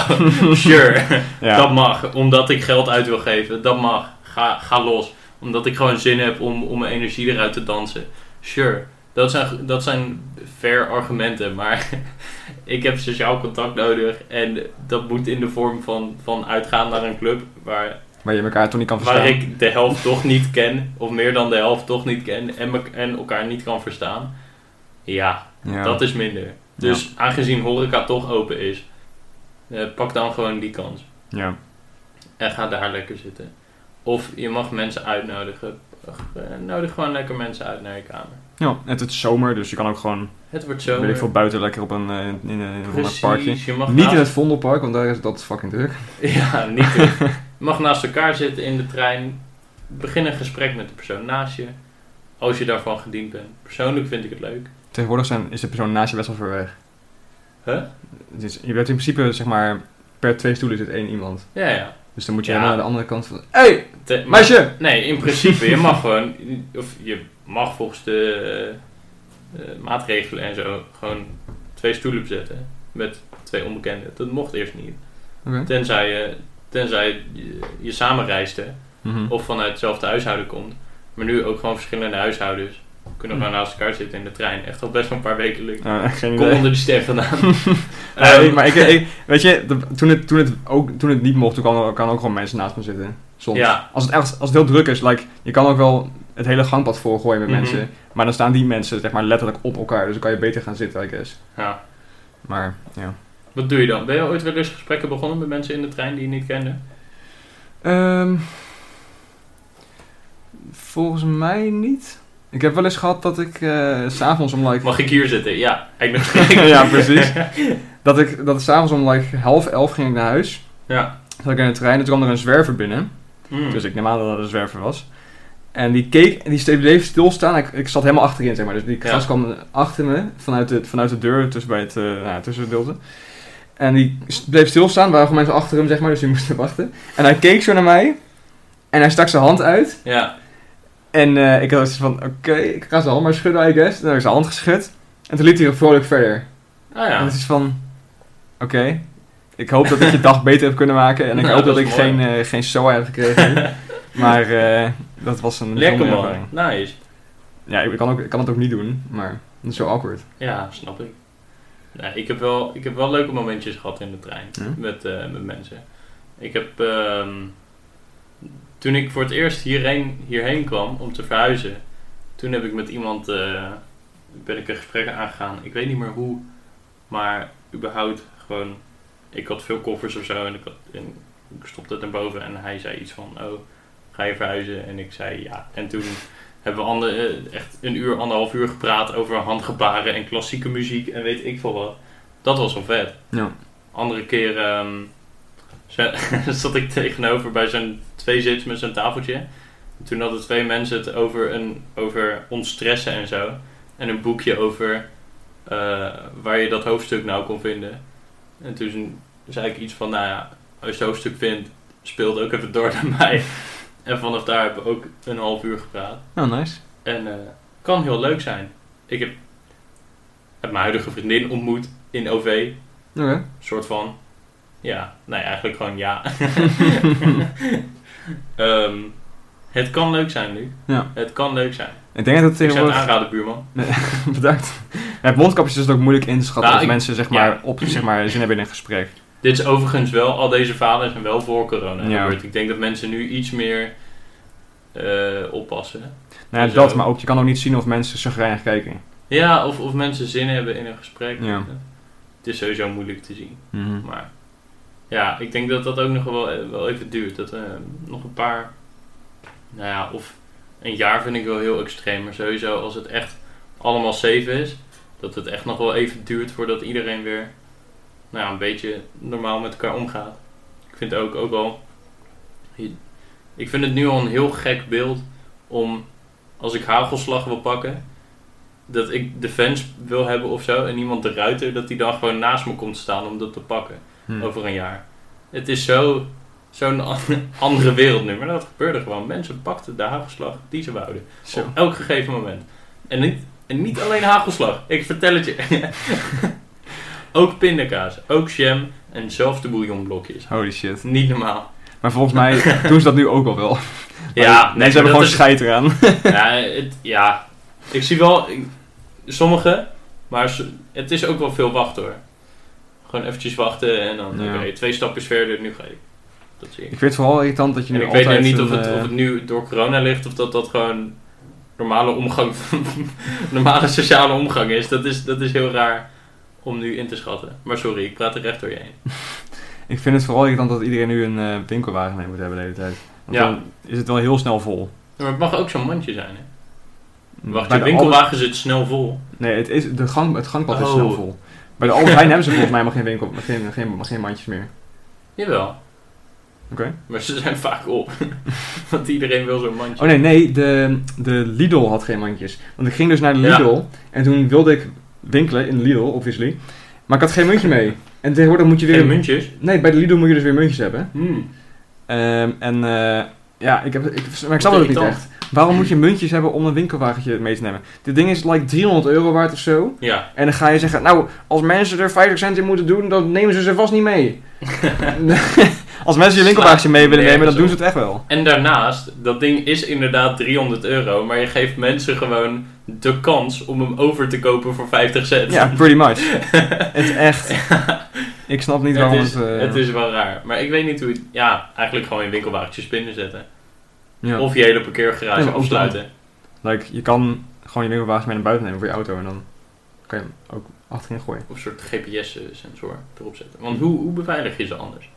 A: sure.
B: Ja.
A: Dat mag. Omdat ik geld uit wil geven. Dat mag. Ga, ga los. Omdat ik gewoon zin heb om, om mijn energie eruit te dansen. Sure. Dat zijn, dat zijn fair argumenten. Maar *laughs* ik heb sociaal contact nodig. En dat moet in de vorm van, van uitgaan naar een club. Waar
B: Waar je elkaar toch niet kan verstaan.
A: Waar ik de helft toch niet ken, of meer dan de helft toch niet ken en, me- en elkaar niet kan verstaan. Ja,
B: ja.
A: dat is minder. Dus aangezien horeca toch open is, eh, pak dan gewoon die kans.
B: ja.
A: En ga daar lekker zitten. Of je mag mensen uitnodigen. Eh, Nodig gewoon lekker mensen uit naar je kamer.
B: ja, het is zomer, dus je kan ook gewoon
A: Het wordt
B: weet ik
A: zomer.
B: veel, buiten lekker op een, eh, in, in, in een
A: Precies,
B: parkje.
A: je mag
B: Niet in het
A: naast,
B: Vondelpark, want daar is dat fucking druk.
A: *laughs* Ja, niet
B: *laughs*
A: in- je mag naast elkaar zitten in de trein. Begin een gesprek met de persoon naast je. Als je daarvan gediend bent. Persoonlijk vind ik het leuk.
B: Tegenwoordig zijn, is de persoon naast je best wel ver weg.
A: Huh?
B: Het is- je bent in principe, zeg maar, per twee stoelen zit één iemand.
A: Ja, ja.
B: Dus dan moet je
A: Ja.
B: helemaal naar de andere kant van... Hey,
A: Te- maar-
B: meisje!
A: Nee, in principe, je mag gewoon, of je mag volgens de eh, eh, maatregelen en zo, gewoon twee stoelen bezetten met twee onbekenden. Dat mocht eerst niet.
B: Oké.
A: Tenzij je, tenzij je, je samen reisde
B: Mhm.
A: of vanuit hetzelfde huishouden komt. Maar nu ook gewoon verschillende huishoudens kunnen
B: Hm.
A: gewoon naast elkaar zitten in de trein. Echt al best wel een paar weken lukt.
B: Eh, *laughs* geen
A: Kom
B: idee.
A: onder de ster vandaan.
B: *laughs*
A: *laughs*
B: Nee,
A: Ehm,
B: maar ik, ik- weet je, de- toen, het, toen, het ook, toen het niet mocht, toen kan, kan ook gewoon mensen naast me zitten. Soms.
A: Ja.
B: Als, het echt, als het heel druk is, like, je kan ook wel het hele gangpad volgooien met
A: Mhm.
B: mensen. Maar dan staan die mensen zeg maar, letterlijk op elkaar, dus dan kan je beter gaan zitten, I guess.
A: ja.
B: Maar, ja.
A: Wat doe je dan? Ben je ooit wel eens gesprekken begonnen met mensen in de trein die je niet kende?
B: Ehm, volgens mij niet. Ik heb wel eens gehad dat ik eh, s s'avonds om like...
A: Mag ik hier zitten? Ja, ik nog
B: *laughs* ja,
A: *laughs*
B: precies. Dat ik dat s'avonds om like half elf ging ik naar huis.
A: Ja.
B: Zat ik in de trein en toen kwam er een zwerver binnen.
A: Hm.
B: Dus ik neem aan dat dat een zwerver was. En die keek en die ste- bleef stilstaan. Ik, ik zat helemaal achterin, zeg maar. Dus die
A: Ja.
B: gast kwam achter me, vanuit de, vanuit de deur, tussen bij het eh nou, tussengedeelte. En die s- bleef stilstaan. Er waren gewoon mensen achter hem, zeg maar. Dus die *laughs* moesten wachten. En hij keek zo naar mij. En hij stak zijn hand uit.
A: ja.
B: En eh, ik had zoiets van, oké, ik ga zijn hand maar schudden, I guess. En dan heb ik zijn hand geschud. En toen liet hij vrolijk verder.
A: Ah
B: En
A: ja.
B: het is van, oké, ik hoop dat ik je dag beter heb kunnen maken. En ik
A: *laughs* Nou,
B: hoop dat,
A: dat is
B: ik
A: mooi.
B: geen, eh, geen SOA heb gekregen.
A: *laughs*
B: maar eh, dat was een
A: Lekker
B: bijzondere
A: man.
B: ervaring.
A: Nice.
B: Ja, ik kan, ook, ik kan het ook niet doen, maar dat is zo awkward.
A: Ja, snap ik. Nee, ik, heb wel, ik heb wel leuke momentjes gehad in de trein
B: Ja?
A: met, eh, met mensen. Ik heb ehm, toen ik voor het eerst hierheen, hierheen kwam om te verhuizen, toen heb ik met iemand eh, ben ik een gesprek aangegaan. Ik weet niet meer hoe, maar überhaupt gewoon. Ik had veel koffers of zo en ik, had, en ik stopte het naar boven en hij zei iets van: Oh, ga je verhuizen? En ik zei ja. En toen hebben we ander, eh, echt een uur, anderhalf uur gepraat over handgebaren en klassieke muziek en weet ik veel wat. Dat was wel vet.
B: Ja.
A: Andere keer ehm, zo- *laughs* zat ik tegenover bij zo'n twee zits met zo'n tafeltje. En toen hadden twee mensen het over, een, over ontstressen en zo. En een boekje over eh, waar je dat hoofdstuk nou kon vinden. En toen zei ik iets van, nou ja, als je het hoofdstuk vindt, speel het ook even door naar mij. En vanaf daar hebben we ook een half uur gepraat.
B: Nou, nice.
A: En eh, kan heel leuk zijn. Ik heb, heb mijn huidige vriendin ontmoet in OV.
B: Oké.
A: soort van. Ja, nee, eigenlijk gewoon
B: *laughs*
A: ja. Ehm, het kan leuk zijn, nu.
B: Ja.
A: Het kan leuk zijn.
B: Ik denk dat het
A: Ik zou het
B: tegenwoordig...
A: aanraden, buurman.
B: *laughs* Bedankt. Met mondkapjes is het ook moeilijk in te schatten
A: Nou,
B: of
A: ik-
B: mensen zeg maar, op, zeg maar, zin hebben in een gesprek.
A: Dit is overigens wel, al deze vaders zijn wel voor corona
B: Ja.
A: gebeurd. Ik denk dat mensen nu iets meer eh, oppassen.
B: Nou ja,
A: Zo.
B: dat, maar ook je kan ook niet zien of mensen chagrijnig kijken.
A: Ja, of, of mensen zin hebben in een gesprek.
B: Ja.
A: Het is sowieso moeilijk te zien.
B: Mhm.
A: Maar ja, ik denk dat dat ook nog wel, wel even duurt. Dat eh, nog een paar, nou ja, of een jaar vind ik wel heel extreem. Maar sowieso als het echt allemaal safe is, dat het echt nog wel even duurt voordat iedereen weer nou ja, een beetje normaal met elkaar omgaat. Ik vind ook, ook al, ik vind het nu al een heel gek beeld om als ik hagelslag wil pakken. Dat ik de fans wil hebben of zo en iemand de ruiter, dat die dan gewoon naast me komt staan om dat te pakken
B: Hm.
A: over een jaar. Het is zo, zo'n *laughs* an- andere wereld nu. Maar dat gebeurde gewoon. Mensen pakten de hagelslag die ze wouden.
B: Zo.
A: Op elk gegeven moment. En niet, en niet alleen hagelslag. Ik vertel het je. *laughs* ook pindakaas. Ook jam. En zelfs de bouillonblokjes.
B: Holy shit.
A: Niet normaal.
B: Maar volgens
A: *laughs*
B: mij doen ze dat nu ook al wel.
A: Ja,
B: mensen hebben
A: dat
B: gewoon
A: is-
B: scheid eraan.
A: *laughs* ja, het, ja, ik zie wel ik- sommige, maar s- het is ook wel veel wachten hoor. Gewoon eventjes wachten en dan
B: Ja.
A: oké, twee stapjes verder, nu ga ik. Dat zie ik.
B: Ik vind het vooral irritant dat je
A: En
B: nu
A: ik weet nu
B: altijd
A: niet
B: een,
A: of het,
B: eh,
A: of het nu door corona ligt of dat dat gewoon normale omgang, *laughs* normale sociale omgang is. Dat, is. dat is heel raar om nu in te schatten. Maar sorry, ik praat er recht door je heen.
B: Ik vind het vooral irritant dat iedereen nu een eh, winkelwagen mee moet hebben de hele tijd. Want
A: Ja.
B: dan is het wel heel snel vol.
A: Maar het mag ook zo'n mandje zijn, hè? Wacht,
B: Bij
A: je
B: de
A: winkelwagen zit snel vol.
B: Albert- Nee, het, is, de gang, het gangpad is
A: Oh.
B: snel vol. Bij de Albert Heijn hebben ze volgens mij helemaal geen, winkel, geen, geen, geen mandjes meer.
A: Jawel,
B: Oké.
A: maar ze zijn vaak op. *laughs* Want iedereen wil zo'n mandje.
B: Oh nee, nee, de, de Lidl had geen mandjes. Want ik ging dus naar de
A: Ja.
B: Lidl en toen wilde ik winkelen in de Lidl, obviously. Maar ik had geen muntje mee. En tegenwoordig moet je weer...
A: Geen muntjes?
B: Nee, bij de Lidl moet je dus weer muntjes hebben.
A: Hmm.
B: Ehm, en eh, ja, ik, heb, ik, maar ik snap het ook niet
A: irritant.
B: echt. Waarom moet je muntjes hebben om een winkelwagentje mee te nemen? Dit ding is like 300 euro waard of zo.
A: Ja,
B: En dan ga je zeggen, nou, als mensen er 50 cent in moeten doen, dan nemen ze ze vast niet
A: *laughs*
B: mee. *laughs* als mensen je winkelwagentje mee willen nemen, dan doen ze het echt wel.
A: en daarnaast, dat ding is inderdaad 300 euro, maar je geeft mensen gewoon de kans om hem over te kopen voor 50 cent. *laughs*
B: Ja, pretty much. het is echt. Ik snap niet waarom
A: het,
B: het.
A: is,
B: eh,
A: het is wel raar. Maar ik weet niet hoe... het- Ja, eigenlijk gewoon je winkelwagentjes binnen zetten.
B: ja.
A: Of je hele parkeergarage
B: Ja, maar ook
A: afsluiten.
B: Like, je kan gewoon je winkelwagens mee naar buiten nemen voor je auto en dan kan je hem ook achterin gooien.
A: Of een soort GPS-sensor erop zetten. Want hoe, hoe beveilig je ze anders?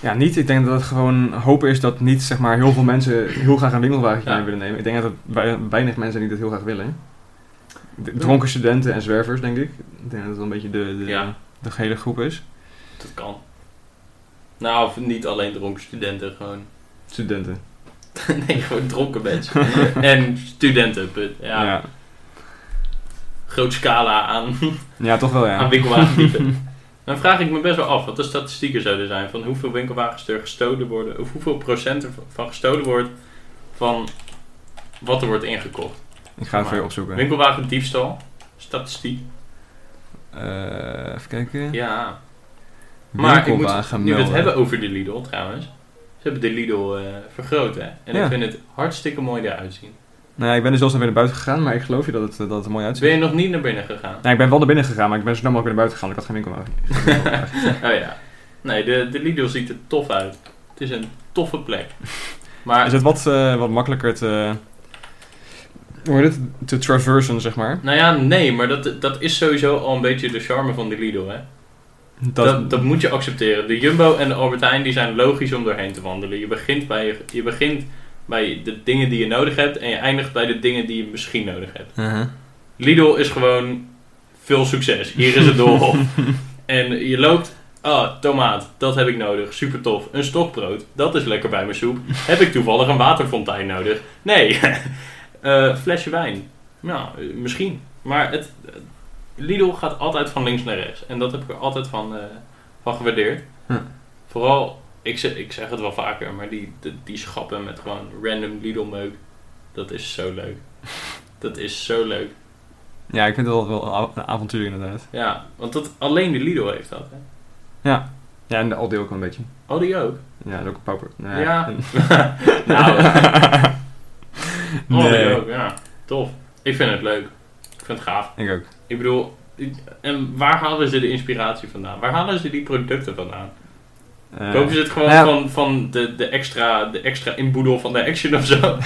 B: Ja, niet. Ik denk dat het gewoon hopen is dat niet zeg maar, heel veel mensen heel graag een winkelwagentje
A: Ja.
B: mee willen nemen. Ik denk dat het wei- weinig mensen zijn die dat heel graag willen. De- dronken studenten en zwervers, denk ik. Ik denk dat dat een beetje de, de,
A: Ja.
B: de gehele groep is.
A: Dat kan. Nou, of niet alleen dronken studenten, gewoon... *laughs*
B: Studenten.
A: nee, gewoon dronken
B: *laughs*
A: mensen. en studenten, put. Ja,
B: ja.
A: groot scala aan,
B: Ja, toch wel, ja.
A: aan winkelwagentypen.
B: *laughs*
A: Dan vraag ik me best wel af wat de statistieken zouden zijn van hoeveel winkelwagens er gestolen worden, of hoeveel procent er van gestolen wordt van wat er wordt ingekocht.
B: Ik ga het voor je opzoeken.
A: Winkelwagendiefstal, statistiek.
B: Eh, even kijken.
A: Ja, maar ik moet, nu we het
B: Winkelwagenmelder.
A: hebben over de Lidl trouwens. Ze hebben de Lidl eh, vergroot hè. En
B: Ja.
A: ik vind het hartstikke mooi eruit zien.
B: Nou, ja, ik ben dus zelfs naar binnen buiten gegaan, maar ik geloof je dat het, eh, dat het er mooi uitziet.
A: Ben je nog niet naar binnen
B: *laughs*
A: gegaan?
B: Nou, ik ben wel naar binnen gegaan, maar ik ben zo snel mogelijk weer naar buiten gegaan. want Ik had geen winkelwagen.
A: *laughs* oh ja. Nee, de, de Lidl ziet er tof uit. Het is een toffe plek.
B: *laughs*
A: Maar
B: Is het wat, eh, wat makkelijker te... Hoe heet het? Te traversen, zeg maar.
A: Nou ja, nee, maar dat, dat is sowieso al een beetje de charme van de Lidl, hè? Dat, dat, moet je accepteren. De Jumbo en de Albert Heijn die zijn logisch om doorheen te wandelen. Je begint, bij, je, je begint bij de dingen die je nodig hebt en je eindigt bij de dingen die je misschien nodig hebt.
B: Uh-huh.
A: Lidl is gewoon veel succes. Hier is het doolhof. en je loopt, ah, tomaat, dat heb ik nodig. Super tof. Een stokbrood, dat is lekker bij mijn soep. Heb ik toevallig een waterfontein nodig? Nee. *laughs* Eh, flesje wijn. Nou, eh, misschien. Maar het, eh, Lidl gaat altijd van links naar rechts. En dat heb ik er altijd van, eh, van gewaardeerd.
B: Hm.
A: Vooral, ik zeg, ik zeg het wel vaker, maar die, die, die schappen met gewoon random Lidl-meuk. Dat is zo leuk. Dat is zo leuk.
B: Ja, ik vind het wel, wel een av- een avontuur inderdaad.
A: Ja, want dat, alleen de Lidl heeft dat. Hè?
B: Ja, en de Aldi ook wel een beetje.
A: Oh, die ook?
B: Ja, dat is ook een pauper. Nou
A: Ja.
B: *laughs*
A: nou, oh, die
B: nee,
A: ook, ja. Tof. Ik vind het leuk. Ik vind het gaaf.
B: *laughs* ik ook.
A: Ik bedoel, ik- en waar halen ze de inspiratie vandaan? Waar halen ze die producten vandaan?
B: Eh,
A: Kopen ze het gewoon
B: nou ja.
A: van, van de, de, extra, de extra inboedel van de action of zo?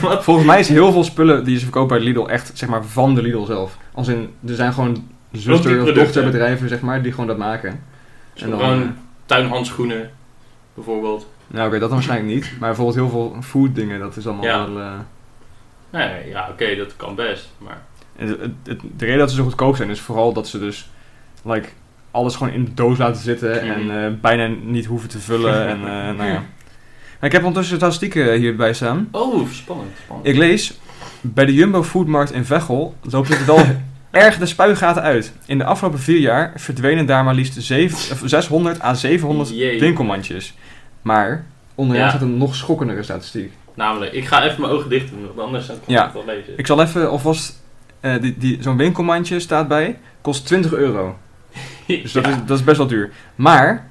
A: Wat?
B: Volgens mij is heel veel spullen die ze verkopen bij Lidl echt zeg maar, van de Lidl zelf. Als in, er zijn gewoon zuster- of
A: producten.
B: dochterbedrijven zeg maar, die gewoon dat maken.
A: Zo gewoon
B: eh,
A: tuinhandschoenen, bijvoorbeeld.
B: Nou, oké, dat dan waarschijnlijk niet. Maar bijvoorbeeld heel veel food dingen, dat is allemaal
A: Ja.
B: wel... eh,
A: Nee, ja, oké, dat kan best. Maar
B: en het- het- het- de reden dat ze zo goedkoop zijn is vooral dat ze dus like, alles gewoon in de doos laten zitten en
A: Mhm.
B: eh, bijna niet hoeven te vullen. en, eh, nou ja. Maar ik heb ondertussen de statistieken hierbij staan.
A: Oh, spannend, spannend.
B: Ik lees, bij de Jumbo Foodmarkt in Veghel loopt het wel erg de spuigaten uit. In de afgelopen vier jaar verdwenen daar maar liefst zeven- of 600 à 700
A: Jee.
B: winkelmandjes. Maar onderaan
A: Ja.
B: staat een nog schokkendere statistiek.
A: Namelijk, ik ga even mijn ogen dicht doen, want anders kan ik
B: Ja.
A: het wel lezen.
B: Ik zal even alvast. eh, die, die, Zo'n winkelmandje staat bij. Kost 20 euro.
A: *laughs*
B: Dus dat,
A: Ja.
B: is, dat is best wel duur. Maar.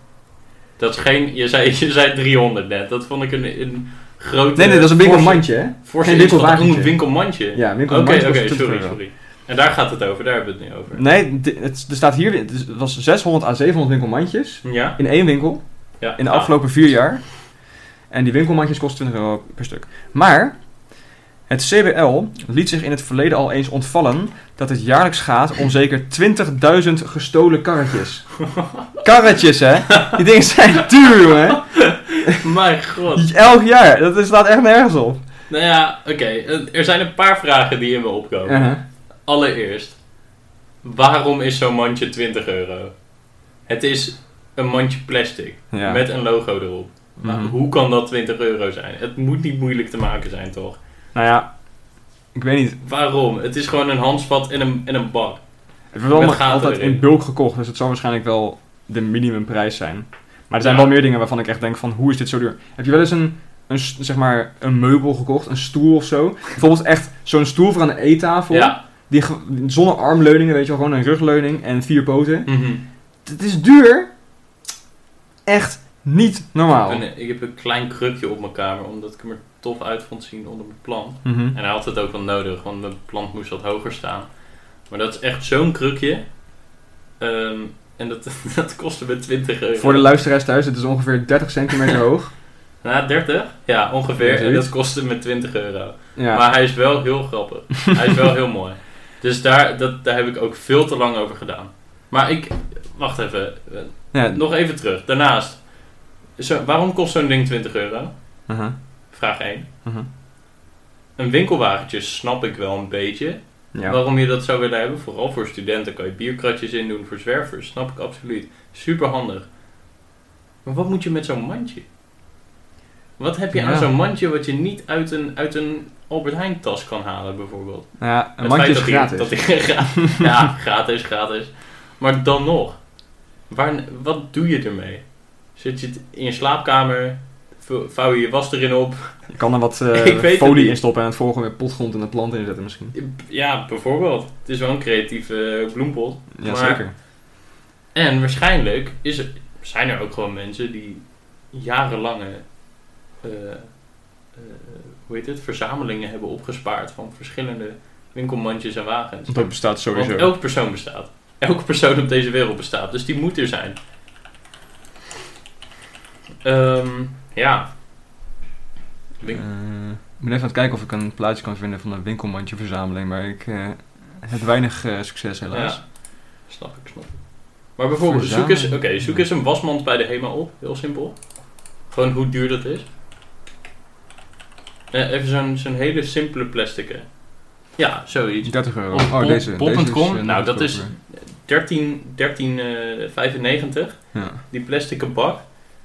A: Dat is geen, je zei, je zei 300 net. Dat vond ik een, een grote.
B: Nee, nee, dat is een
A: forse-
B: winkelmandje, hè?
A: forse
B: Geen
A: inschatting.
B: winkelwagentje.
A: Oh, een winkelmandje.
B: Ja, een
A: Oké,
B: winkelmandje. kost
A: oké,
B: 20
A: sorry,
B: euro.
A: sorry. En daar gaat het over, daar hebben we het nu over.
B: Nee, di- het, er staat hier. weer- Het is- het was 600 à 700 winkelmandjes.
A: Ja?
B: In één winkel.
A: Ja.
B: in de
A: Ah,
B: afgelopen vier jaar. En die winkelmandjes kosten 20 euro per stuk. Maar het CBL liet zich in het verleden al eens ontvallen dat het jaarlijks gaat om zeker 20.000
A: *laughs*
B: gestolen karretjes. karretjes, hè? Die dingen zijn
A: *laughs*
B: duur, jongen.
A: Ah, Mijn god.
B: Elk jaar. Dat is- staat echt nergens op.
A: Nou ja, oké. Eh, Er zijn een paar vragen die in me opkomen.
B: Uh-huh.
A: Allereerst, waarom is zo'n mandje 20 euro? Het is een mandje plastic
B: Ja.
A: met een logo erop. Maar
B: Mhm.
A: hoe kan dat 20 euro zijn? Het moet niet moeilijk te maken zijn, toch?
B: Nou ja, ik weet niet.
A: Waarom? Het is gewoon een handvat en een, en een bak.
B: Het wordt
A: Met
B: allemaal
A: gaten
B: altijd
A: erin.
B: in bulk gekocht, dus het zou waarschijnlijk wel de minimumprijs zijn. Maar er zijn
A: Ja.
B: wel meer dingen waarvan ik echt denk van, hoe is dit zo duur? Heb je wel eens een, een, s- zeg maar, een meubel gekocht, een stoel of zo? Bijvoorbeeld echt zo'n stoel voor aan de eettafel,
A: Ja.
B: die, ge- zonder armleuningen, weet je wel, gewoon een rugleuning en vier poten.
A: Mhm.
B: Het is duur. Echt niet normaal.
A: Ik, heb een, ik heb een klein krukje op mijn kamer, omdat ik hem er tof uit vond zien onder mijn plant.
B: Mhm.
A: En hij had het ook wel nodig, want mijn plant moest wat hoger staan. Maar dat is echt zo'n krukje. Ehm, en dat, *laughs* dat kostte me 20 euro.
B: Voor de luisteraars thuis, het is ongeveer 30
A: *laughs*
B: centimeter hoog.
A: Na 30? Ja,
B: Ja,
A: ongeveer. En
B: zoiets.
A: dat kostte me 20 euro.
B: Ja.
A: Maar hij is wel heel grappig.
B: *laughs*
A: hij is wel heel mooi. Dus daar, dat, daar heb ik ook veel te lang over gedaan. Maar ik... Wacht even. Eh,
B: ja.
A: Nog even terug. Daarnaast. Zo, waarom kost zo'n ding 20 euro?
B: Mhm.
A: Vraag 1.
B: Mhm.
A: Een winkelwagentje snap ik wel een beetje.
B: Ja.
A: Waarom je dat zou willen hebben, vooral voor studenten, kan je bierkratjes in doen voor zwervers. Snap ik absoluut. Super handig. Maar wat moet je met zo'n mandje? Wat heb je
B: Ja.
A: aan zo'n mandje wat je niet uit een, uit een Albert Heijn tas kan halen, bijvoorbeeld?
B: Nou ja, een
A: Het
B: mandje
A: feit
B: is
A: dat die- dat
B: gratis.
A: die *laughs* gra-
B: *laughs*
A: ja, gratis, gratis. Maar dan nog, waar, wat doe je ermee? Zit je het in je slaapkamer, vou- vouw je je was erin op,
B: Je kan er wat
A: *laughs*
B: eh,
A: Ik weet het
B: folie
A: niet.
B: in stoppen en het volgende weer potgrond en een plant in zetten misschien.
A: Ja, bijvoorbeeld. Het is wel een creatieve eh, bloempot.
B: Ja,
A: Maar-
B: zeker.
A: En waarschijnlijk is er, zijn er ook gewoon mensen die jarenlange eh, eh, hoe heet het, verzamelingen hebben opgespaard van verschillende winkelmandjes en wagens.
B: Dat bestaat sowieso.
A: Want elk persoon bestaat. Elke persoon op deze wereld bestaat. Dus die moet er zijn. Ehm, ja.
B: Eh,
A: Win-
B: ik ben even aan het kijken of ik een plaatje kan vinden van een winkelmandjeverzameling, maar ik eh, heb weinig eh, succes helaas.
A: Ja. Snap ik, snap ik. Maar bijvoorbeeld, zoek eens,
B: Verzamelen.
A: oké, zoek eens een wasmand bij de HEMA op. Heel simpel. Gewoon hoe duur dat is. Eh, even zo'n zo'n hele simpele plastic. hè. Ja, zoiets.
B: 30 euro.
A: Op
B: Oh,
A: bol-
B: deze.
A: bol.com?
B: deze is, eh, nog
A: Nou, dat is-
B: goedkoper.
A: 13, 13 eh, 95,
B: Ja.
A: die plastic bak.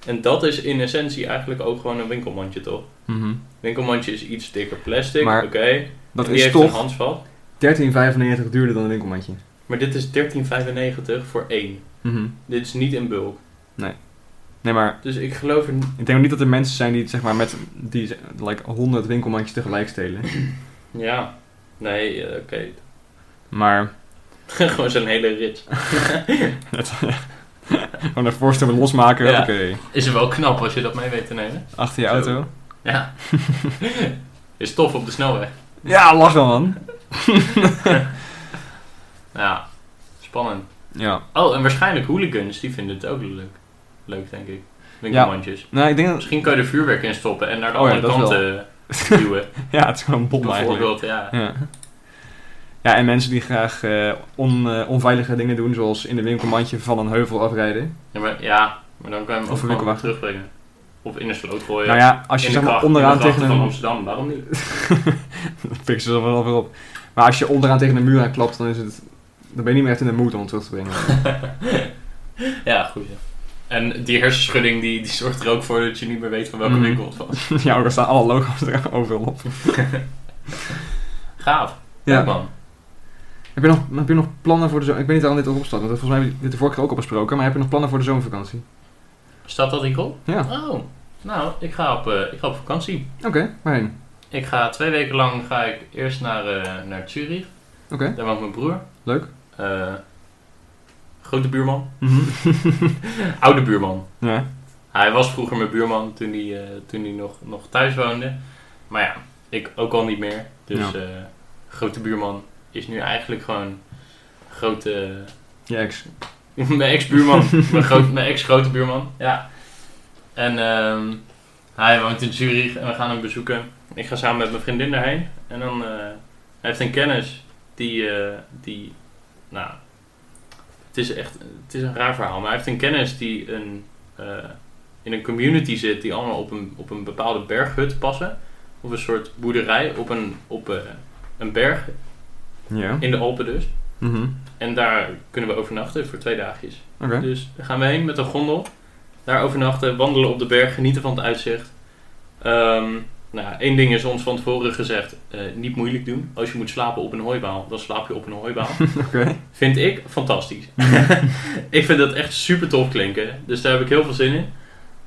A: En dat is in essentie eigenlijk ook gewoon een winkelmandje, toch?
B: Mhm.
A: Winkelmandje is iets dikker plastic,
B: Maar
A: oké.
B: Dat
A: En die
B: is
A: heeft een
B: toch
A: handvat.
B: 13,95 duurder dan een winkelmandje.
A: Maar dit is 13,95 voor één.
B: Mhm.
A: Dit is niet in bulk.
B: Nee, maar
A: Dus ik geloof er
B: ik denk niet dat er mensen zijn die, het, zeg maar, met die, like, 100 winkelmandjes tegelijk stelen.
A: Ja, nee, eh, oké. *laughs*
B: Maar,
A: Gewoon zo'n hele rit.
B: het, gewoon de voorste weer losmaken,
A: Ja.
B: oké.
A: Is wel knap als je dat mee weet te nemen.
B: Achter je
A: Zo.
B: auto.
A: *laughs* Ja. Is tof op de snelweg.
B: Ja, lach dan, man.
A: Ja, spannend.
B: Ja.
A: Oh, en waarschijnlijk hooligans, die vinden het ook leuk. Leuk, denk ik. Winkelmandjes.
B: Nou, ik denk dat...
A: Misschien kan je er vuurwerk in stoppen en naar de
B: Oh ja,
A: andere
B: dat
A: kant eh, *laughs* duwen.
B: *laughs* Ja, het is gewoon een bom eigenlijk.
A: Bijvoorbeeld, ja.
B: Ja. ja, en mensen die graag eh, on, eh, onveilige dingen doen, zoals in een winkelmandje van een heuvel afrijden.
A: Ja maar, ja, maar dan kan je hem ook
B: Of een
A: gewoon
B: winkelwacht.
A: terugbrengen. Of in een sloot gooien.
B: Nou ja, als je
A: Oh in de
B: zeg maar
A: gracht,
B: onderaan
A: in de grachten
B: tegen
A: van
B: een...
A: Amsterdam, waarom niet?
B: *laughs* Dat pikken ze er wel weer op. Maar als je onderaan tegen een muur aan klapt, dan, is het... dan ben je niet meer echt in de moed om het terug te brengen.
A: *laughs*
B: *laughs*
A: ja, goed. ja. En die hersenschudding die, die zorgt er ook voor dat je niet meer weet van welke
B: Mhm.
A: winkel het was.
B: ja, ook al staan alle logo's er overal op.
A: Gaaf.
B: Ja.
A: Ja, man.
B: Heb je, nog, heb je nog plannen voor de zomer? Ik weet niet waarom dit erop staat, want volgens mij hebben we dit de vorige keer ook al besproken. Maar heb je nog plannen voor de zomervakantie?
A: Staat dat artikel?
B: Ja,
A: Oh, nou, ik ga op, eh, ik ga op vakantie.
B: oké. Waarheen?
A: Ik ga twee weken lang ga ik eerst naar, eh, naar Zurich.
B: Oké,
A: Daar woont mijn broer.
B: leuk.
A: Eh, grote buurman. Oude buurman.
B: Mhm. *laughs* Ja.
A: Hij was vroeger mijn buurman toen hij, eh, toen hij nog, nog thuis woonde. Maar ja, ik ook al niet meer. Dus eh, grote buurman is nu eigenlijk gewoon grote...
B: Je ex.
A: *laughs* Mijn ex-buurman. mijn, groot- mijn ex-grote buurman. Ja. En ehm, hij woont in Zurich en we gaan hem bezoeken. Ik ga samen met mijn vriendin daarheen. En dan eh, hij heeft een kennis die, eh, die nou, het is echt het is een raar verhaal. Maar hij heeft een kennis die een, eh, in een community zit die allemaal op een, op een bepaalde berghut passen. Of een soort boerderij op een, op, eh, een berg
B: Ja.
A: in de Alpen dus.
B: Mhm.
A: En daar kunnen we overnachten voor twee dagjes.
B: Oké.
A: Dus daar gaan we heen met een gondel. Daar overnachten, wandelen op de berg, genieten van het uitzicht. Ehm, nou, één ding is ons van tevoren gezegd: eh, niet moeilijk doen. Als je moet slapen op een hooibaal, dan slaap je op een
B: *laughs*
A: hooibaal.
B: Oké.
A: vind ik fantastisch.
B: *laughs*
A: ik vind dat echt super tof klinken. Dus daar heb ik heel veel zin in.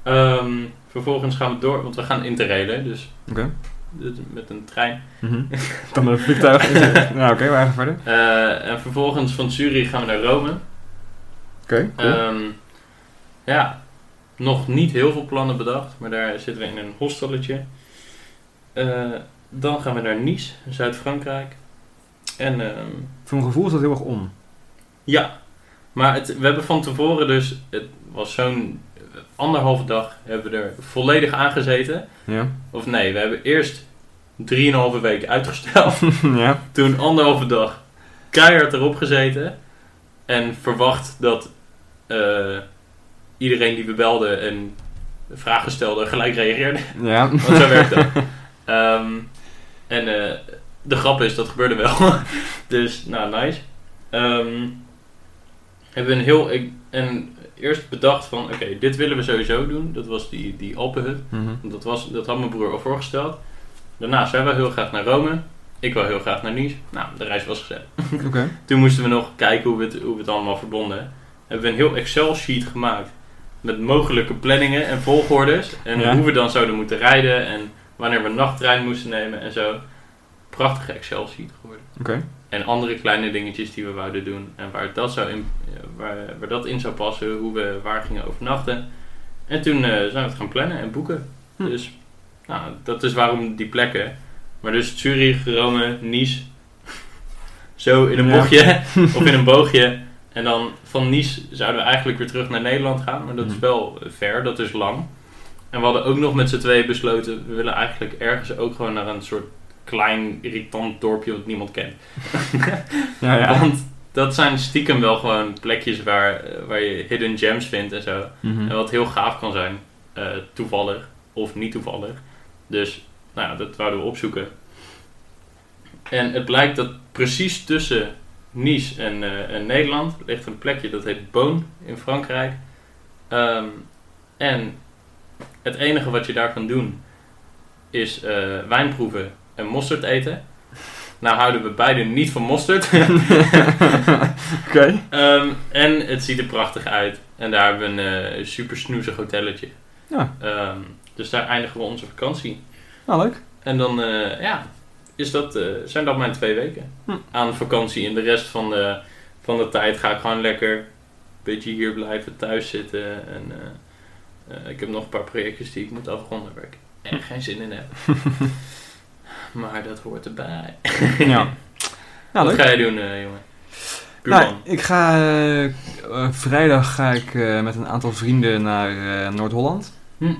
A: Ehm, vervolgens gaan we door, want we gaan interrailen. Dus
B: Oké.
A: dit- met een trein.
B: Mhm. Dan
A: *laughs*
B: een vliegtuig. nou, oké, we gaan verder.
A: Eh, en vervolgens van Zurich gaan we naar Rome.
B: Oké, cool.
A: Ehm, ja, nog niet heel veel plannen bedacht, maar daar zitten we in een hostelletje. Eh, dan gaan we naar Nice, Zuid-Frankrijk. En ehm,
B: Voor mijn gevoel is dat heel erg om.
A: ja, maar het, we hebben van tevoren dus, het was zo'n eh, anderhalve dag, hebben we er volledig aan gezeten.
B: Ja. *laughs*
A: Of nee, we hebben eerst drieënhalve week uitgesteld.
B: ja.
A: Toen anderhalve dag keihard erop gezeten. En verwacht dat eh, iedereen die we belden en vragen stelde gelijk reageerde. *laughs*
B: Ja.
A: Want zo werkt dat. Ehm, en eh, de grap is, dat gebeurde wel. *laughs* dus, nou, nice. Ehm, hebben we een heel... Ik, en eerst bedacht van, oké, dit willen we sowieso doen. Dat was die, die Alpenhut.
B: Mhm.
A: Want Dat, was, dat had mijn broer al voorgesteld. Daarna zijn we heel graag naar Rome. Ik wil heel graag naar Nice. Nou, de reis was gezet.
B: Oké.
A: Toen moesten we nog kijken hoe we het, hoe we het allemaal verbonden. Hebben we een heel Excel-sheet gemaakt. Met mogelijke planningen en volgordes. En
B: Ja.
A: hoe we dan zouden moeten rijden. En wanneer we een nachttrein moesten nemen en zo. Prachtige Excel-sheet geworden.
B: Oké.
A: En andere kleine dingetjes die we wouden doen. En waar dat, zou in, eh, waar, waar dat in zou passen. Hoe we waar gingen overnachten. En toen eh, zijn we het gaan plannen en boeken.
B: Hm.
A: Dus nou, dat is waarom die plekken. Maar dus Zurich, Rome, Nice. *laughs* Zo in een
B: Ja.
A: bochtje.
B: *laughs*
A: of in een boogje. En dan van Nice zouden we eigenlijk weer terug naar Nederland gaan. Maar dat is
B: Mhm.
A: wel ver, dat is lang. En we hadden ook nog met z'n tweeën besloten... we willen eigenlijk ergens ook gewoon naar een soort klein irritant dorpje... wat niemand kent.
B: *laughs* Ja, ja.
A: Want dat zijn stiekem wel gewoon plekjes waar, eh, waar je hidden gems vindt en zo. En
B: Mhm.
A: wat heel gaaf kan zijn, eh, toevallig of niet toevallig. Dus nou ja, dat wouden we opzoeken. En het blijkt dat precies tussen Nice en, eh, en Nederland ligt een plekje dat heet Boon in Frankrijk. Ehm, en het enige wat je daar kan doen is eh, wijn proeven en mosterd eten. Nou houden we beide niet van mosterd.
B: Oké.
A: Ehm, en het ziet er prachtig uit. En daar hebben we een eh, super snoezig hotelletje.
B: Ja.
A: Ehm, dus daar eindigen we onze vakantie.
B: Nou, *laughs* leuk.
A: En dan eh, ja, is dat, eh, zijn dat mijn twee weken
B: Hm.
A: aan vakantie. En de rest van de, van de tijd ga ik gewoon lekker een beetje hier blijven thuis zitten. En eh, eh, ik heb nog een paar projectjes die ik moet afronden waar ik echt geen zin in heb.
B: *laughs*
A: maar dat hoort erbij.
B: Ja.
A: Wat
B: Nou, leuk.
A: ga jij doen, eh, jongen?
B: Nou,
A: Buurman.
B: ik ga eh, eh, vrijdag ga ik eh, met een aantal vrienden naar eh, Noord-Holland.
A: Hm.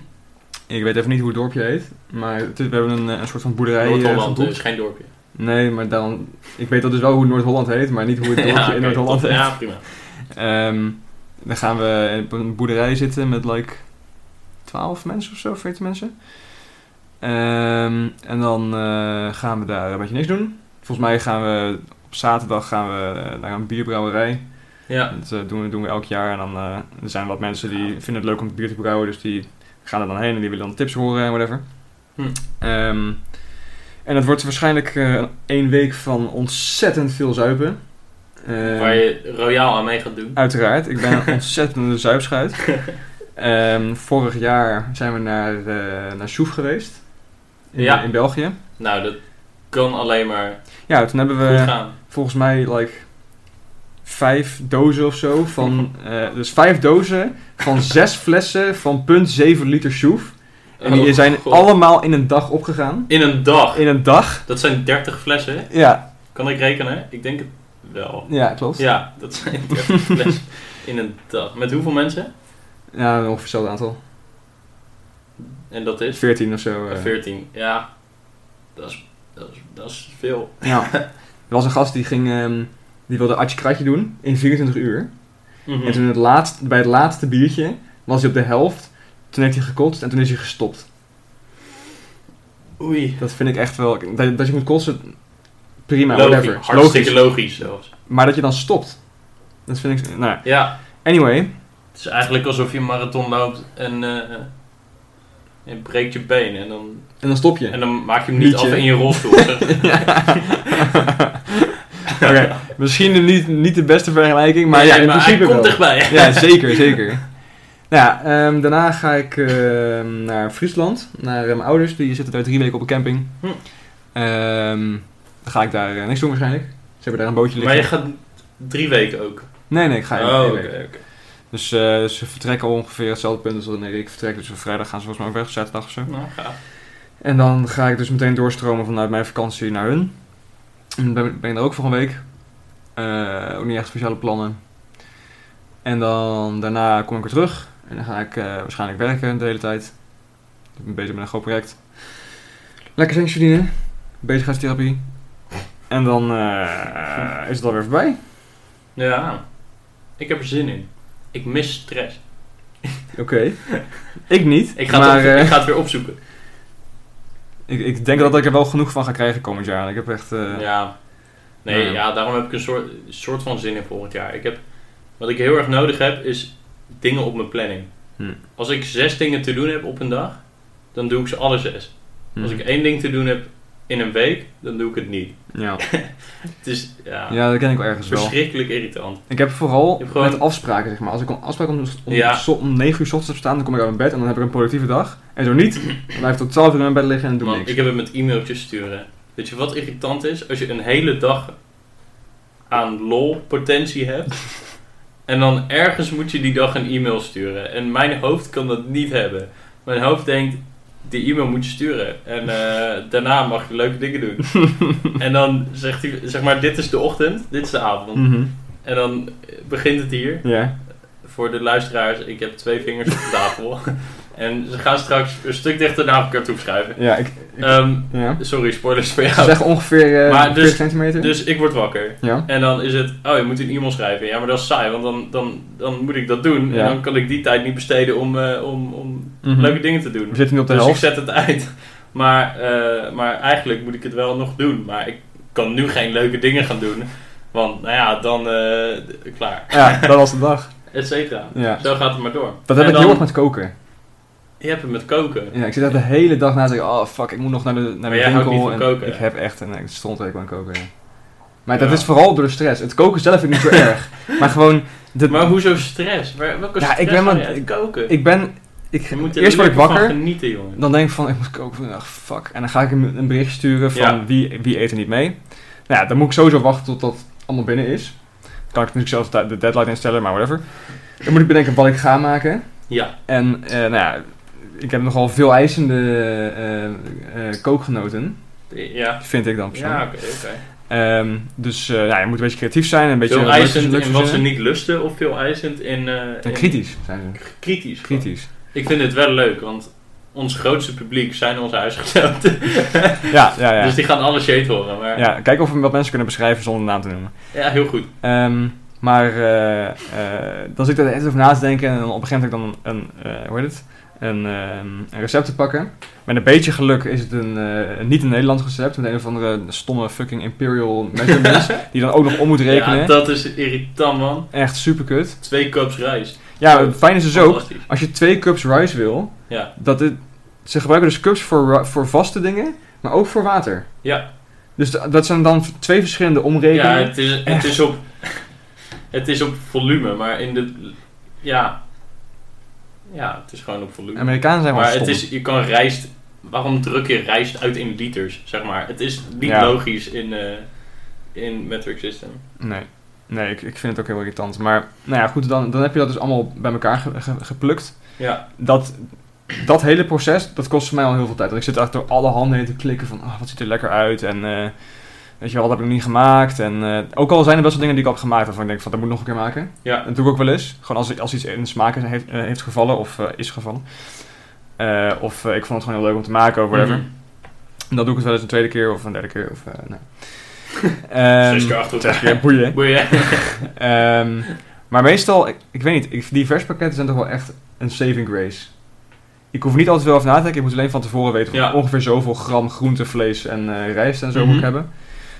B: Ik weet even niet hoe het dorpje heet, maar het is- we hebben een, eh, een soort van boerderij eh,
A: Noord-Holland
B: geboekt.
A: is geen dorpje.
B: Nee, maar dan, ik weet dat dus wel hoe Noord-Holland heet, maar niet hoe
A: *laughs*
B: het dorpje
A: Ja, oké,
B: in Noord-Holland
A: top.
B: heet.
A: Ja, prima.
B: Ehm, dan gaan we op een boerderij zitten met like 12 mensen of zo, 14 mensen. Ehm, en dan eh, gaan we daar een beetje niks doen. Volgens mij gaan we op zaterdag gaan we eh, naar een bierbrouwerij.
A: Ja,
B: Dat eh, doen, we, doen we elk jaar. En dan eh, er zijn wat mensen die vinden het leuk om bier te brouwen. Dus die gaan er dan heen en die willen dan tips horen en whatever.
A: Hm.
B: Ehm, en dat wordt waarschijnlijk eh, één week van ontzettend veel zuipen. Ehm,
A: waar je royaal aan mee gaat doen.
B: Uiteraard. Ik ben
A: *laughs*
B: een ontzettende zuipschuit. Ehm, vorig jaar zijn we naar, eh naar Soef geweest. In,
A: Ja.
B: in België.
A: Nou, dat kan alleen maar
B: Ja, toen hebben
A: goed
B: we
A: gaan.
B: volgens mij like vijf dozen of
A: *laughs*
B: zo van eh, dus vijf dozen van zes flessen van 0,7 liter soef en die
A: Oh,
B: zijn
A: God.
B: allemaal in een dag opgegaan
A: In een dag.
B: in een dag
A: Dat zijn 30 flessen.
B: ja
A: Kan ik rekenen? Ik denk het wel.
B: ja klopt ja,
A: Ja, dat
B: *laughs*
A: zijn 30 flessen in een dag. Met hoeveel mensen?
B: ongeveer hetzelfde aantal
A: En dat is?
B: 14 of zo. eh.
A: 14. Ja, dat is, dat is, dat is veel.
B: Ja. Er was een gast die ging, ehm, die wilde Atje Kratje doen in 24 uur.
A: Mhm.
B: En toen het laatst, bij het laatste biertje was hij op de helft. Toen heeft hij gekotst en toen is hij gestopt.
A: Oei.
B: Dat vind ik echt wel... Dat, dat je moet kotsen, prima,
A: Logisch,
B: whatever. Is
A: Hartstikke logisch. zelfs.
B: Maar dat je dan stopt. Dat vind ik... Nou, ja.
A: Ja,
B: anyway.
A: het is eigenlijk alsof je een marathon loopt en, eh en je breekt je been. En dan,
B: En dan stop je. *laughs*
A: en dan maak je hem niet
B: Nietje.
A: af in je
B: *laughs*
A: rolstoel.
B: Oké, misschien niet, niet de beste vergelijking, maar ja,
A: Nee,
B: in
A: maar
B: principe
A: hij komt
B: wel.
A: dichtbij.
B: Ja, zeker, zeker. Nou ja, ehm, daarna ga ik ehm, naar Friesland, naar eh, mijn ouders. Die zitten daar drie weken op een camping.
A: Hm.
B: Ehm, dan ga ik daar eh, niks doen waarschijnlijk. Ze hebben daar een bootje
A: Maar
B: liggen.
A: je gaat drie weken ook.
B: Nee, nee, ik ga
A: oh,
B: één
A: oké.
B: week.
A: oké.
B: Dus eh, ze vertrekken ongeveer hetzelfde punt als wanneer ik vertrek. Dus op vrijdag gaan ze volgens mij weg, zaterdag of zo.
A: Nou, gaaf.
B: En dan ga ik dus meteen doorstromen vanuit mijn vakantie naar hun. En ben, ben ik daar ook voor een week. Eh, ook niet echt speciale plannen. En dan daarna kom ik weer terug. En dan ga ik eh, waarschijnlijk werken de hele tijd. Ik ben bezig met een groot project. Lekker zinks verdienen. Bezigheidstherapie. En dan eh, is het alweer voorbij.
A: Ja, ik heb er zin in. Ik mis stress.
B: Oké. Ik niet.
A: Ik ga,
B: maar,
A: het, op-
B: eh,
A: ik ga het weer
B: *laughs*
A: opzoeken.
B: ik, ik denk dat ik er wel genoeg van ga krijgen komend jaar. Ik heb echt... eh,
A: ja. Nee,
B: nou.
A: ja, daarom heb ik een soort, soort van zin in volgend jaar. Ik heb, wat ik heel erg nodig heb, is dingen op mijn planning.
B: Hm.
A: Als ik zes dingen te doen heb op een dag, dan doe ik ze alle zes.
B: hm,
A: Als ik één ding te doen heb in een week, dan doe ik het niet.
B: ja.
A: Het is ja,
B: ja, dat ken ik wel
A: Dus
B: ergens wel.
A: verschrikkelijk irritant.
B: Ik heb vooral
A: Je hebt gewoon-
B: met afspraken, zeg maar. Als ik een afspraak om, om,
A: Ja.
B: so- om 9 uur 's ochtends heb staan, dan kom ik uit mijn bed en dan heb ik een productieve dag. En zo niet, dan blijf ik tot 12 uur in mijn bed liggen en doe
A: Man,
B: niks.
A: ik heb het met e-mailtjes sturen. Weet je wat irritant is? Als je een hele dag aan lol potentie
B: *laughs*
A: hebt. en dan ergens moet je die dag een e-mail sturen. En mijn hoofd kan dat niet hebben. Mijn hoofd denkt, die e-mail moet je sturen. En eh, daarna mag je leuke dingen
B: *laughs*
A: doen. en dan zegt hij, zeg maar, dit is de ochtend, dit is de avond.
B: Mhm.
A: En dan eh, begint het hier.
B: Ja.
A: Voor de luisteraars, ik heb twee vingers
B: *laughs*
A: op de tafel. en ze gaan straks een stuk dichter naar elkaar toe schuiven.
B: Ja, ik... ik-
A: Ehm,
B: ja.
A: Sorry, spoilers voor
B: Ze
A: jou.
B: zeggen ongeveer eh
A: Maar
B: 40
A: dus-
B: centimeter.
A: Dus ik word wakker.
B: ja.
A: En dan is het, oh, je moet een e-mail schrijven. Ja, maar dat is saai, want dan, dan, dan moet ik dat doen.
B: Ja.
A: En dan kan ik die tijd niet besteden om, eh, om, om
B: Mhm.
A: leuke dingen te doen.
B: We zitten nu op de
A: Dus ik
B: helft.
A: zet het uit. Maar, eh, maar eigenlijk moet ik het wel nog doen. Maar ik kan nu geen leuke dingen gaan doen. Want, nou ja, dan eh, d- klaar.
B: Ja, dat was de dag.
A: Et cetera.
B: Ja.
A: Zo gaat het maar door.
B: Dat heb
A: En
B: ik heel
A: dan-
B: erg met koken.
A: Je hebt het met koken.
B: Ja, ik zit echt de hele dag na te denken, oh fuck, ik moet nog naar de, naar
A: Maar
B: de
A: jij houdt
B: winkel.
A: niet van
B: en
A: koken,
B: ik
A: hè?
B: heb echt een stond aan koken. ja. Maar dat
A: Ja.
B: is vooral door de stress. Het koken zelf vind
A: *laughs*
B: ik niet zo erg. Maar gewoon... De,
A: Maar hoezo stress? Waar- Welke
B: Ja, ik
A: stress ik
B: ben
A: ben
B: maar-
A: koken?
B: ik ben... Ik,
A: je moet er
B: eerst word ik
A: lekker van
B: wakker.
A: genieten, jongen.
B: Dan denk ik van, ik moet koken vandaag, fuck. En dan ga ik hem een bericht sturen van
A: Ja.
B: wie, wie eet er niet mee. Nou ja, dan moet ik sowieso wachten tot dat allemaal binnen is. Dan kan ik natuurlijk zelfs de de deadline instellen, maar whatever. Dan moet ik bedenken wat ik ga maken.
A: Ja.
B: En eh, nou ja, ik heb nogal veel eisende eh, eh, kookgenoten,
A: Ja.
B: vind ik dan persoonlijk.
A: Ja, oké, oké.
B: Ehm, dus eh, nou, je moet een beetje creatief zijn. en Een beetje
A: Veel
B: leuks-
A: eisend
B: leuks
A: in wat ze
B: verzinnen.
A: niet lusten of veel eisend in... eh,
B: En
A: in-
B: kritisch zijn ze.
A: Kritisch. gewoon.
B: Kritisch.
A: Ik vind het wel leuk, want ons grootste publiek zijn onze huisgenoten.
B: Ja, ja, ja.
A: *laughs* Dus die gaan alle shit horen. Maar ja.
B: ja, kijk of we wat mensen kunnen beschrijven zonder naam te noemen.
A: heel goed.
B: Ehm, maar eh, eh, dan zit ik er echt over na te denken en dan op een gegeven moment heb ik dan een, een, eh, hoe heet het? Een, ehm, een recept te pakken. Met een beetje geluk is het een, eh, niet een Nederlands recept, met een of andere stomme fucking imperial
A: *laughs*
B: measurements, die je dan ook nog om moet rekenen.
A: Ja, dat is irritant, man.
B: Echt super kut.
A: Twee cups rijst.
B: Ja, het fijne is dus ook,
A: Fantastisch.
B: als je twee cups rice wil,
A: Ja.
B: dat het, ze gebruiken dus cups voor, ru- voor vaste dingen, maar ook voor water.
A: Ja.
B: Dus d- dat zijn dan twee verschillende omrekeningen.
A: Ja, het is, het is op... Het is op volume, maar in de... Ja. Ja, het is gewoon op volume.
B: Amerikanen zijn wel
A: Maar
B: stom.
A: het is, je kan rijst. Waarom druk je rijst uit in liters, zeg maar? Het is niet
B: Ja.
A: logisch in, eh, in metric system.
B: Nee, nee ik, ik vind het ook heel irritant. Maar nou ja, goed, dan, dan heb je dat dus allemaal bij elkaar ge- ge- geplukt.
A: Ja,
B: Dat, dat hele proces, dat kost voor mij al heel veel tijd. Want ik zit echt door alle handen heen te klikken van, ah, wat ziet er lekker uit en... eh, Weet je wel, dat heb ik niet gemaakt. En eh, ook al zijn er best wel dingen die ik al heb gemaakt waarvan ik denk van, dat moet ik nog een keer maken.
A: ja.
B: Dat doe ik ook wel eens. Gewoon als, als iets in de smaak heeft, eh, heeft gevallen of eh, is gevallen. Ehm, Eh, of eh, ik vond het gewoon heel leuk om te maken of whatever.
A: Mhm.
B: En Dan doe ik het wel eens een tweede keer of een derde keer. Of, eh
A: *laughs*
B: nou. Ehm,
A: Zes keer achter
B: zes
A: elkaar.
B: *laughs* keer, boeien.
A: Boeien.
B: Ehm, maar meestal, ik, ik weet niet, ik, die verspakketten zijn toch wel echt een saving grace. Ik hoef niet altijd wel over na te denken, ik moet alleen van tevoren weten of
A: Ja.
B: ik ongeveer zoveel gram groente, vlees en eh, rijst en zo moet
A: Mhm.
B: ik hebben.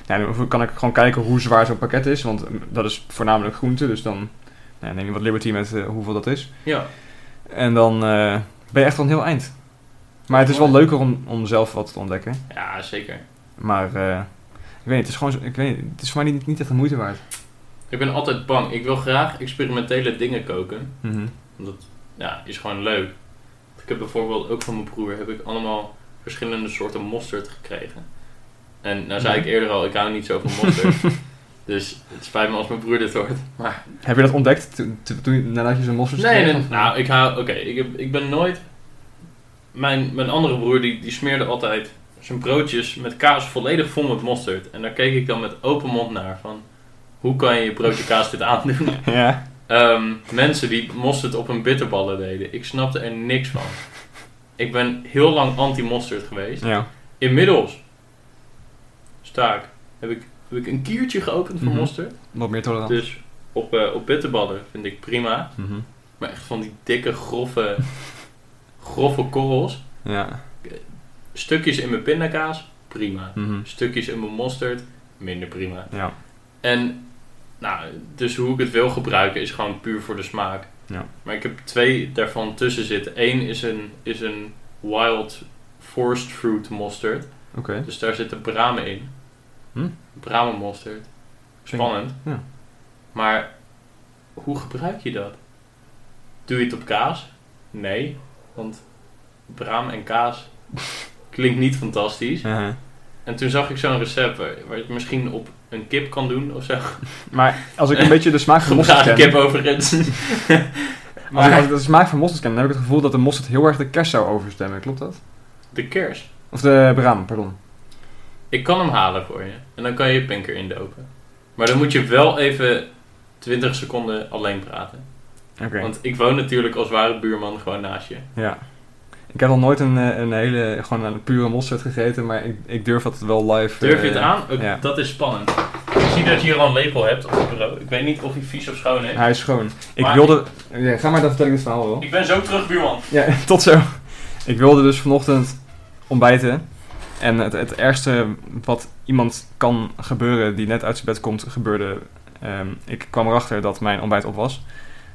B: Nou, dan kan ik gewoon kijken hoe zwaar zo'n pakket is, want mm, dat is voornamelijk groente, dus dan nou, neem je wat liberty met eh, hoeveel dat is.
A: Ja.
B: En dan eh, ben je echt al een heel eind. Maar het is wel leuker om, om zelf wat te ontdekken.
A: ja, zeker.
B: Maar eh, ik weet niet, het is gewoon, zo- ik weet niet, het is voor mij niet, niet echt de moeite waard.
A: Ik ben altijd bang. Ik wil graag experimentele dingen koken.
B: Mhm.
A: ja, is gewoon leuk. Ik heb bijvoorbeeld ook van mijn broer heb ik allemaal verschillende soorten mosterd gekregen. En nou zei ik eerder al, ik hou niet zo van mosterd. dus het spijt me als mijn broer dit hoort. Maar
B: Heb je dat ontdekt toen, toen, toen- nadat je zo'n mosterd
A: nee,
B: kreeg?
A: nee,
B: Of-
A: nou, ik hou. Oké, ik, heb- ik ben nooit. Mijn, mijn andere broer die, die smeerde altijd zijn broodjes met kaas volledig vol met mosterd. En daar keek ik dan met open mond naar van hoe kan je je broodje kaas dit aandoen?
B: Ja.
A: Ehm, mensen die mosterd op hun bitterballen deden. Ik snapte er niks van. Ik ben heel lang anti-mosterd geweest.
B: ja.
A: Inmiddels sta ik, heb ik, heb ik een kiertje geopend voor
B: Mhm.
A: mosterd.
B: Wat meer tolerant.
A: Dus op, eh, op bitterballen vind ik prima.
B: Mhm.
A: Maar echt van die dikke, grove, grove korrels.
B: Ja.
A: Stukjes in mijn pindakaas, prima.
B: Mhm.
A: Stukjes in mijn mosterd, minder prima.
B: Ja.
A: En nou, dus hoe ik het wil gebruiken is gewoon puur voor de smaak.
B: Ja.
A: Maar ik heb twee daarvan tussen zitten. Eén is een, is een wild forest fruit mosterd.
B: Oké.
A: Dus daar zitten bramen in.
B: Hm?
A: Bramen mosterd. Spannend.
B: Ja.
A: Maar hoe gebruik je dat? Doe je het op kaas? Nee, want braam en
B: *laughs*
A: kaas klinkt niet fantastisch.
B: Mhm.
A: En toen zag ik zo'n recept waar, waar je het misschien op een kip kan doen of zo.
B: Maar als
A: *laughs*
B: ik een beetje de smaak van mosterd
A: Gebraden
B: ken...
A: kip overigens.
B: *laughs* Als ik, als ik
A: maar
B: de smaak van mosterd ken, dan heb ik het gevoel dat de mosterd heel erg de kerst zou overstemmen. Klopt dat?
A: de kers.
B: Of de braam, pardon.
A: Ik kan hem halen voor je. En dan kan je je pinker indopen. Maar dan moet je wel even 20 seconden alleen praten.
B: Oké. Eh,
A: Want ik woon natuurlijk als ware buurman gewoon naast je.
B: Ja. Ik heb nog nooit een, eh, een hele, gewoon een pure mosterd gegeten, maar ik, ik durf dat wel live...
A: Durf je
B: eh,
A: het aan? Ook
B: ja.
A: Dat is spannend. Ik zie dat je hier al een lepel hebt op het bureau. Ik weet niet of hij vies of schoon is.
B: Hij is schoon. Ik
A: Maar-
B: wilde... Ja, ga maar, dan vertel ik het verhaal wel.
A: Ik ben zo terug, buurman.
B: Ja, *laughs* tot zo. Ik wilde dus vanochtend ontbijten. En het, het ergste wat iemand kan gebeuren die net uit zijn bed komt, gebeurde. Ehm, ik kwam erachter dat mijn ontbijt op was.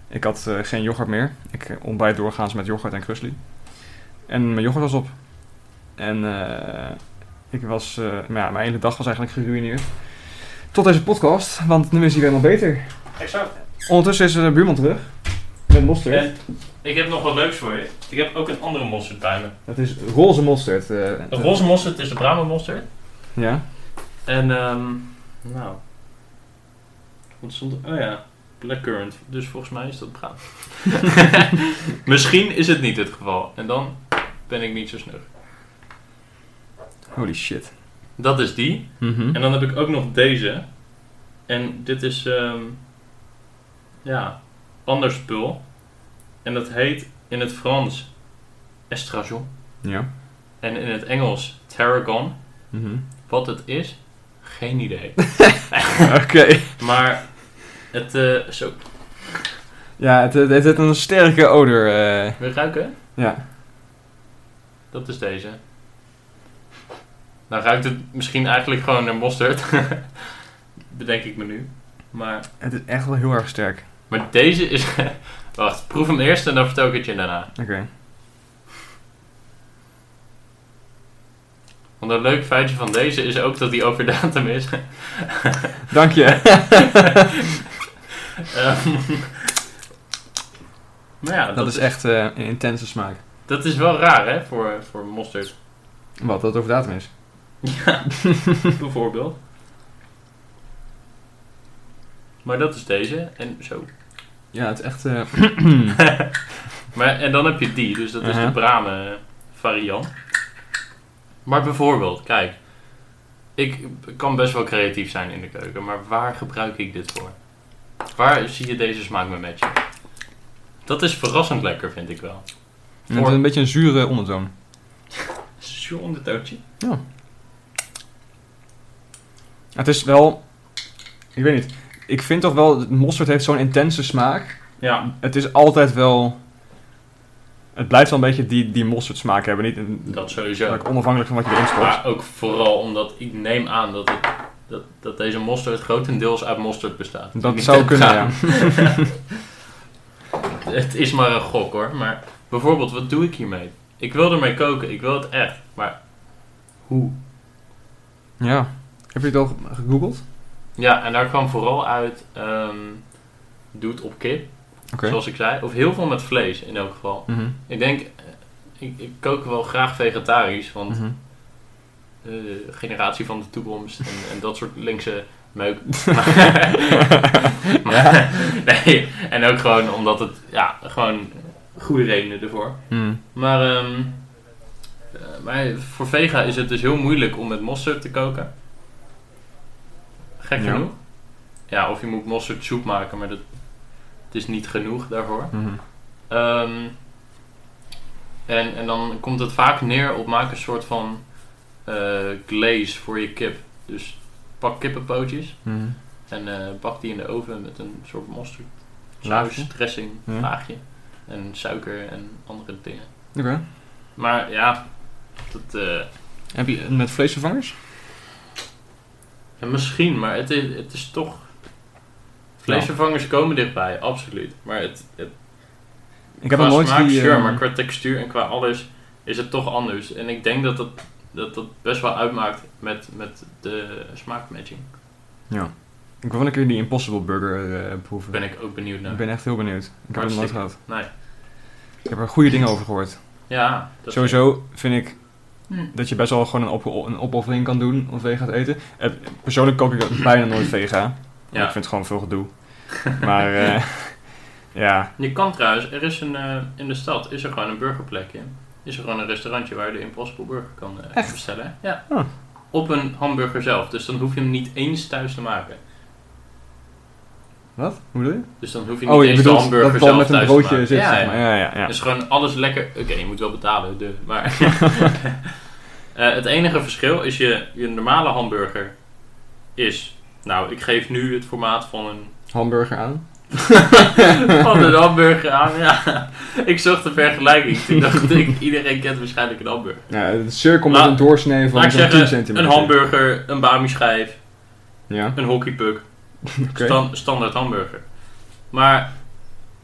B: Ik had eh, geen yoghurt meer. Ik ontbijt doorgaans met yoghurt en krusli. En mijn yoghurt was op. En eh, ik was, eh, maar ja, mijn hele dag was eigenlijk geruineerd. Tot deze podcast, want nu is hij weer helemaal beter.
A: Exact.
B: Ondertussen is de buurman terug. Met mosterd.
A: En ik heb nog wat leuks voor je. Ik heb ook een andere mosterd bij me.
B: Dat is roze mosterd. eh.
A: Een roze mosterd is de Brahma mosterd.
B: Ja.
A: En ehm nou. Wat stond er? Oh ja, blackcurrant. Dus volgens mij is dat braam. *laughs* Misschien is het niet het geval. En dan ben ik niet zo snug.
B: Holy shit.
A: Dat is die.
B: Hm? Mhm.
A: En dan heb ik ook nog deze. En dit is ehm ja, ander spul. En dat heet in het Frans estragon.
B: Ja.
A: En in het Engels tarragon.
B: Mhm.
A: Wat het is, geen idee.
B: *laughs* Oké.
A: Maar het, eh zo,
B: Ja, het, het, het heeft een sterke odor. eh.
A: wil je ruiken?
B: ja.
A: Dat is deze. Nou ruikt het misschien eigenlijk gewoon naar mosterd. *laughs* Bedenk ik me nu. Maar,
B: Het is echt wel heel erg sterk.
A: maar deze is... *laughs* Wacht, proef hem eerst en dan vertel ik het je daarna.
B: Oké.
A: Want een leuk feitje van deze is ook dat hij over datum is. *laughs*
B: Dank *laughs* je.
A: Ehm, maar ja, dat,
B: dat is echt eh, een intense smaak.
A: dat is wel raar hè, voor, voor mosterd.
B: Wat, dat het over datum is.
A: Ja, *laughs* bijvoorbeeld. Maar dat is deze en zo.
B: Ja, het is echt... eh,
A: Maar, en dan heb je die, dus dat is
B: Mhm.
A: de Bramen variant. Maar bijvoorbeeld, kijk, ik kan best wel creatief zijn in de keuken, maar waar gebruik ik dit voor? Waar zie je deze smaak me matchen? Dat is verrassend lekker, vind ik wel.
B: En het is een beetje een zure ondertoon.
A: Zo'n ondertootje.
B: Het is wel... Ik weet niet. Ik vind toch wel... Mosterd heeft zo'n intense smaak.
A: Ja.
B: Het is altijd wel... Het blijft wel een beetje die, die mosterd hebben. Niet een-
A: Dat sowieso.
B: eigenlijk onafhankelijk van wat je erin stopt.
A: Maar ook vooral omdat ik neem aan dat, het, dat, dat deze mosterd grotendeels uit mosterd bestaat.
B: Dat
A: Niet
B: zou
A: dat
B: kunnen, ja.
A: gaan. *laughs* Het is maar een gok hoor. Maar bijvoorbeeld, wat doe ik hiermee? Ik wil ermee koken, ik wil het echt. Maar hoe?
B: Ja. Heb je het al gegoogeld?
A: Ja, en daar kwam vooral uit, ehm doe het op kip,
B: Oké.
A: zoals ik zei. Of heel veel met vlees in elk geval.
B: Mhm,
A: Ik denk, eh, ik, ik kook wel graag vegetarisch, want
B: mhm.
A: de eh, generatie van de toekomst en, en dat soort linkse meuk. *laughs*
B: Mhm.
A: Maar- maar- nee, en ook gewoon omdat het, ja, gewoon goede redenen ervoor.
B: Mhm.
A: Maar, ehm, eh, maar voor vega is het dus heel moeilijk om met mosterd te koken. Gek
B: Ja.
A: genoeg. Ja, of je moet mosterdsoep maken, maar dat, het is niet genoeg daarvoor.
B: Mhm.
A: Ehm, en, en dan komt het vaak neer op maak een soort van eh, glaze voor je kip. Dus pak kippenpootjes
B: Mhm.
A: en eh, bak die in de oven met een soort mosterd.
B: Laagje?
A: Saus, dressing,
B: Ja.
A: laagje. En suiker en andere dingen.
B: Oké.
A: Maar ja, dat, eh,
B: Heb je met vleesvervangers?
A: ja, misschien, maar het is, het is toch. Vleesvervangers komen dichtbij, absoluut. Maar het, het,
B: Ik heb
A: qua
B: nog nooit
A: smaak,
B: die...
A: sure,
B: eh,
A: maar qua textuur en qua alles is het toch anders. En ik denk dat dat, dat, dat best wel uitmaakt met, met de smaakmatching.
B: Ja. Ik wil wel een keer die Impossible Burger eh, proeven.
A: Daar ben ik ook benieuwd naar.
B: Ik ben echt heel benieuwd. Ik heb het nog nooit
A: Hartstikke.
B: gehad.
A: Nee.
B: Ik heb er goede dingen over gehoord.
A: Ja, dat
B: Sowieso vind ik
A: Hm.
B: dat je best wel gewoon een, opge- een opoffering kan doen om vega te eten. Eh, persoonlijk kook ik *laughs* bijna nooit vega.
A: Ja.
B: Ik vind het gewoon veel gedoe. Maar eh, *laughs* ja,
A: Je kan trouwens, er is een, eh, in de stad is er gewoon een burgerplekje. Is er gewoon een restaurantje waar je de Impossible Burger kan eh, bestellen. Ja.
B: Oh.
A: Op een hamburger zelf. Dus dan hoef je hem niet eens thuis te maken.
B: wat? Hoe bedoel je?
A: Dus dan hoef je niet
B: Oh, je
A: eens de
B: bedoelt dat
A: hamburger
B: het dan
A: zelf
B: met een
A: thuis te
B: broodje
A: maken.
B: zit,
A: ja,
B: zeg
A: ja.
B: maar. Ja, ja, ja.
A: Dus gewoon alles lekker. Oké, je moet wel betalen, duh.
B: *laughs*
A: maar. *laughs* Eh, het enige verschil is je, je normale hamburger is. Nou, ik geef nu het formaat van
B: *laughs*
A: een
B: Hamburger aan.
A: van een hamburger aan. Ja. Ik zocht de vergelijking. Toen dacht ik, iedereen kent waarschijnlijk een hamburger.
B: Ja, een cirkel met
A: Nou,
B: een doorsnee van
A: Laat ik
B: zo'n 10
A: zeggen, een
B: centimeter.
A: hamburger, een bami schijf,
B: Ja,
A: een hockeypuck.
B: oké.
A: Stan- standaard hamburger. Maar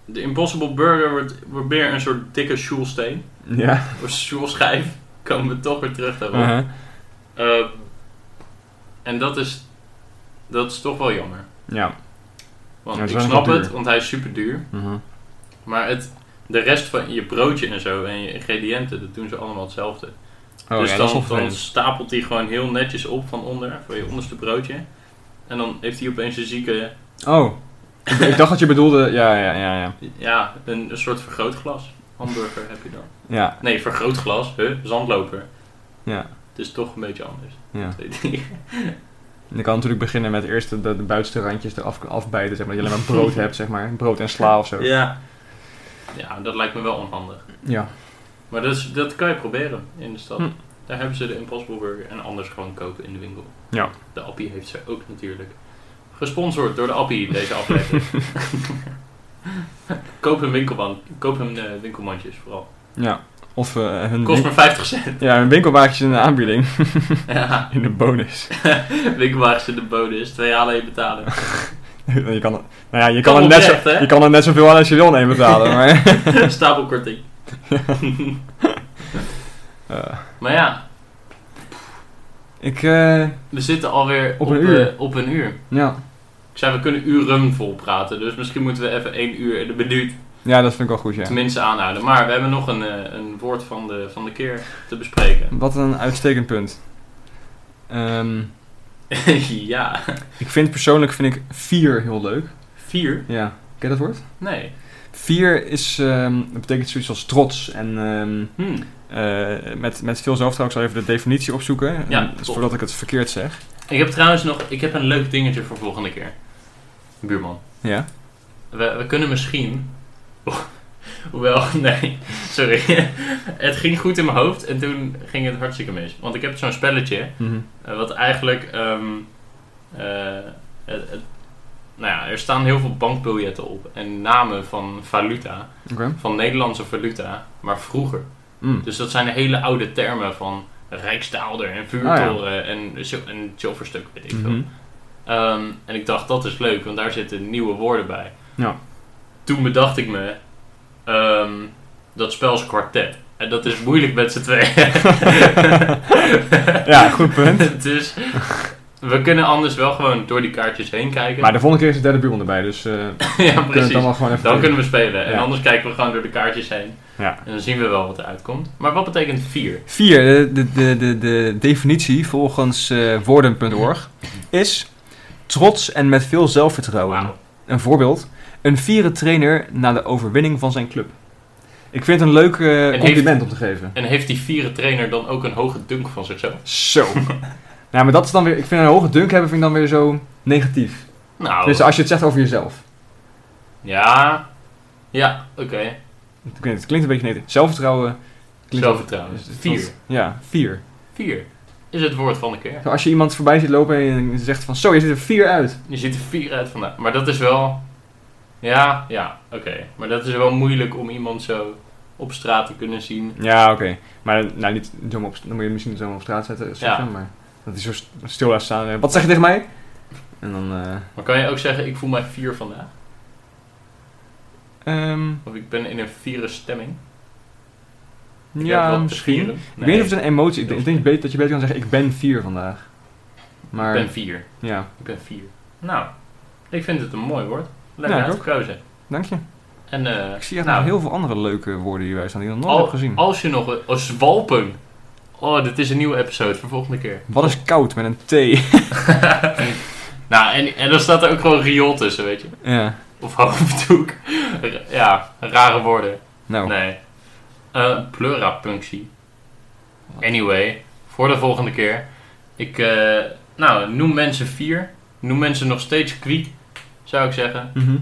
A: de Impossible Burger wordt, wordt meer een soort dikke sjoelsteen.
B: Ja.
A: Of sjoelschijf. Komen we toch weer terug daarop.
B: Uh-huh.
A: Ehm, en dat is, dat is toch wel jammer.
B: Ja.
A: Want
B: Ja, het is
A: ik
B: wel
A: snap
B: heel
A: het,
B: duur.
A: want hij is super duur.
B: Mhm.
A: Maar het, de rest van je broodje en zo en je ingrediënten, dat doen ze allemaal hetzelfde.
B: Oh,
A: dus
B: ja, dat is wel
A: dan, dan
B: vervelend.
A: stapelt hij gewoon heel netjes op van onder, van je onderste broodje. En dan heeft hij opeens een zieke,
B: Oh, ik, ik dacht dat je bedoelde. Ja, ja, ja, ja.
A: ja, een, een soort vergrootglas. Hamburger heb je dan.
B: Ja,
A: Nee, vergrootglas, huh? zandloper.
B: Ja.
A: Het is toch een beetje anders.
B: ja.
A: Twee dingen.
B: En Je kan natuurlijk beginnen met eerst de, de buitenste randjes eraf afbijten, zeg maar. Dat je alleen maar brood hebt, zeg maar. Brood en sla of zo.
A: Ja. Ja, dat lijkt me wel onhandig.
B: Ja.
A: Maar dat, is- dat kan je proberen in de stad.
B: Hm.
A: Daar hebben ze de Impossible Burger en anders gewoon kopen in de winkel.
B: Ja.
A: De Appie heeft ze ook natuurlijk. Gesponsord door de Appie deze
B: *laughs*
A: aflevering. koop hun, winkelman, koop hun eh, winkelmandjes vooral.
B: Ja. Of eh, hun,
A: Kost
B: win-
A: maar 50 cent. *laughs*
B: ja, hun winkelwagentjes in de aanbieding. *laughs*
A: ja,
B: In de bonus. *laughs*
A: winkelwagens in de bodem is twee halen je betalen.
B: je kan, nou ja, je
A: Kan
B: kan, er net zo,
A: oprecht, hè?
B: je kan er net zoveel aan als je wil nemen betalen. Maar, *laughs*
A: *laughs* Stapelkorting.
B: Eh,
A: Maar ja,
B: ik, eh,
A: we zitten alweer
B: Op een uur.
A: eh, op een uur.
B: ja.
A: Ik zei, we kunnen uren vol praten. Dus misschien moeten we even één uur in de minuut
B: ja, dat vind ik wel goed, ja.
A: tenminste aanhouden. Maar we hebben nog een, eh, een woord van de, van de keer te
B: *laughs*
A: bespreken.
B: Wat een uitstekend punt. Ehm,
A: ja.
B: ik vind persoonlijk vind ik vier heel leuk.
A: Vier?
B: Ja. Ken je dat woord?
A: Nee.
B: Vier is, ehm, dat betekent zoiets als trots. En ehm,
A: Hm.
B: eh, met, met veel zelfvertrouwen, ik zal even de definitie opzoeken.
A: Ja,
B: eh, dus
A: klopt.
B: voordat ik het verkeerd zeg.
A: Ik heb trouwens nog ik heb een leuk dingetje voor volgende keer. Buurman.
B: Ja.
A: We, we kunnen misschien... *laughs* Hoewel, nee, sorry. *laughs* het ging goed in mijn hoofd en toen ging het hartstikke mis. Want ik heb zo'n spelletje,
B: Mhm.
A: eh, wat eigenlijk... ehm, eh, het- het- nou ja, er staan heel veel bankbiljetten op en namen van valuta,
B: Oké.
A: van Nederlandse valuta, maar vroeger.
B: Mm.
A: Dus dat zijn hele oude termen van Rijksdaalder en vuurtoren en, zil- en zilverstuk, weet ik veel.
B: Mhm.
A: Ehm, en ik dacht, dat is leuk, want daar zitten nieuwe woorden bij.
B: Ja.
A: Toen bedacht ik me, ehm, dat spel is kwartet. En dat is moeilijk met z'n tweeën.
B: *laughs* Ja, goed
A: *laughs*
B: punt.
A: dus we kunnen anders wel gewoon door die kaartjes heen kijken.
B: Maar de volgende keer is de derde buurman erbij, dus eh we
A: *laughs* ja,
B: kunnen het
A: precies.
B: allemaal gewoon even...
A: Dan kunnen we spelen. En
B: Ja.
A: anders kijken we gewoon door de kaartjes heen.
B: Ja.
A: En dan zien we wel wat er uitkomt. Maar wat betekent vier?
B: Vier, de, de, de, de, de definitie volgens eh, woorden.org is trots en met veel zelfvertrouwen.
A: Wauw.
B: Een voorbeeld, een vieren trainer na de overwinning van zijn club. Ik vind het een leuk eh,
A: heeft-
B: compliment om te geven.
A: En heeft die vieren trainer dan ook een hoge dunk van zichzelf?
B: Zo. *laughs* nou, maar dat is dan weer, ik vind een hoge dunk hebben vind ik dan weer zo negatief.
A: Nou,
B: Dus als je het zegt over jezelf.
A: ja. Ja, oké.
B: Ik weet het, het klinkt een beetje negatief. Zelfvertrouwen. klinkt-
A: Zelfvertrouwen.
B: is- is-
A: Vier.
B: Ja, vier.
A: Vier is het woord van de keer.
B: Zo, Als je iemand voorbij ziet lopen en je zegt van zo, je ziet er vier uit.
A: Je ziet er vier uit vandaag. Maar dat is wel. Ja, ja, oké. Maar dat is wel moeilijk om iemand zo op straat te kunnen zien.
B: Ja, oké. Maar nou, niet zomaar op, dan moet je misschien zomaar op straat zetten, zeggen,
A: Ja.
B: maar dat hij zo st- stil laat staan. eh, Wat zeg je tegen mij? En dan, eh
A: Maar kan je ook zeggen, ik voel mij vier vandaag?
B: ehm,
A: Of ik ben in een vieren stemming? Ik heb
B: ja,
A: wat te
B: misschien.
A: vieren.
B: Ik weet niet of het
A: Nee,
B: een emotie is. Ik denk beter- dat je beter kan zeggen, ik ben vier vandaag. Maar,
A: Ik ben vier.
B: ja,
A: Ik ben vier. Nou, ik vind het een mooi woord. Lekker
B: Ja, ik ook.
A: uitgekozen.
B: dank je.
A: En eh,
B: Ik zie echt
A: nou,
B: nog heel veel andere leuke woorden hierbij staan die ik nog nooit
A: al-
B: heb gezien.
A: als je nog... een- Oh, zwalpen. Oh, dit is een nieuwe episode voor volgende keer.
B: Wat is koud met een T? *laughs*
A: nou, en, en dan staat er ook gewoon riool tussen, weet je.
B: ja,
A: Of *laughs* hoofddoek. Ja, rare woorden.
B: nou.
A: Nee. Eh, pleurapunctie. Anyway, voor de volgende keer. Ik, eh, nou, noem mensen vier. Noem mensen nog steeds kwiek, zou ik zeggen.
B: Mhm.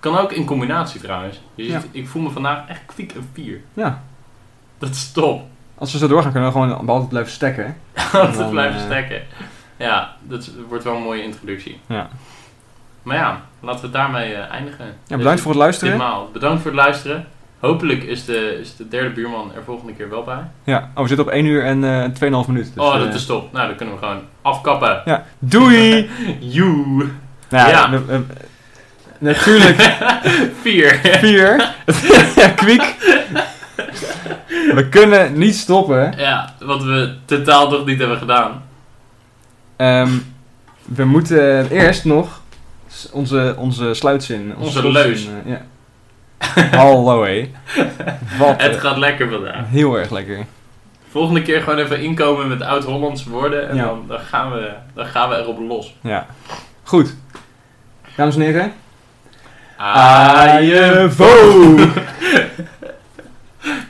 A: Kan ook in combinatie trouwens. Je ziet,
B: Ja.
A: Ik voel me vandaag echt kwiek en vier.
B: Ja,
A: Dat is top.
B: als we zo doorgaan kunnen we gewoon altijd blijven stekken. hè?
A: Om te
B: Dan,
A: blijven
B: eh,
A: stekken. Ja, dat is- wordt wel een mooie introductie.
B: Ja.
A: Maar ja, laten we het daarmee eh, eindigen.
B: Ja, bedankt voor het luisteren.
A: Ditmaal. Bedankt voor het luisteren. Hopelijk is de, is de derde buurman er volgende keer wel bij.
B: Ja, oh, we zitten op 1 uur en eh 2,5 minuten. Dus,
A: oh,
B: eh,
A: dat is top. Nou, dan kunnen we gewoon afkappen.
B: Ja,
A: *laughs*
B: doei!
A: You.
B: nou,
A: Ja.
B: we- we-
A: *laughs*
B: natuurlijk, *laughs*
A: Vier. *laughs*
B: vier. ja, kwiek. We kunnen niet stoppen.
A: Ja, wat we totaal nog niet hebben gedaan.
B: Ehm, we moeten eerst nog s- onze, onze sluitzin.
A: Onze
B: slotzin,
A: leus.
B: eh, ja. Hallo, hé. Wat
A: Het
B: eh,
A: gaat lekker vandaag.
B: heel erg lekker.
A: Volgende keer gewoon even inkomen met oud-Hollandse woorden. En
B: Ja.
A: dan, dan, gaan we, dan gaan we erop los.
B: Ja. Goed. Dames en heren.
A: Ajevo!
B: Ajevo.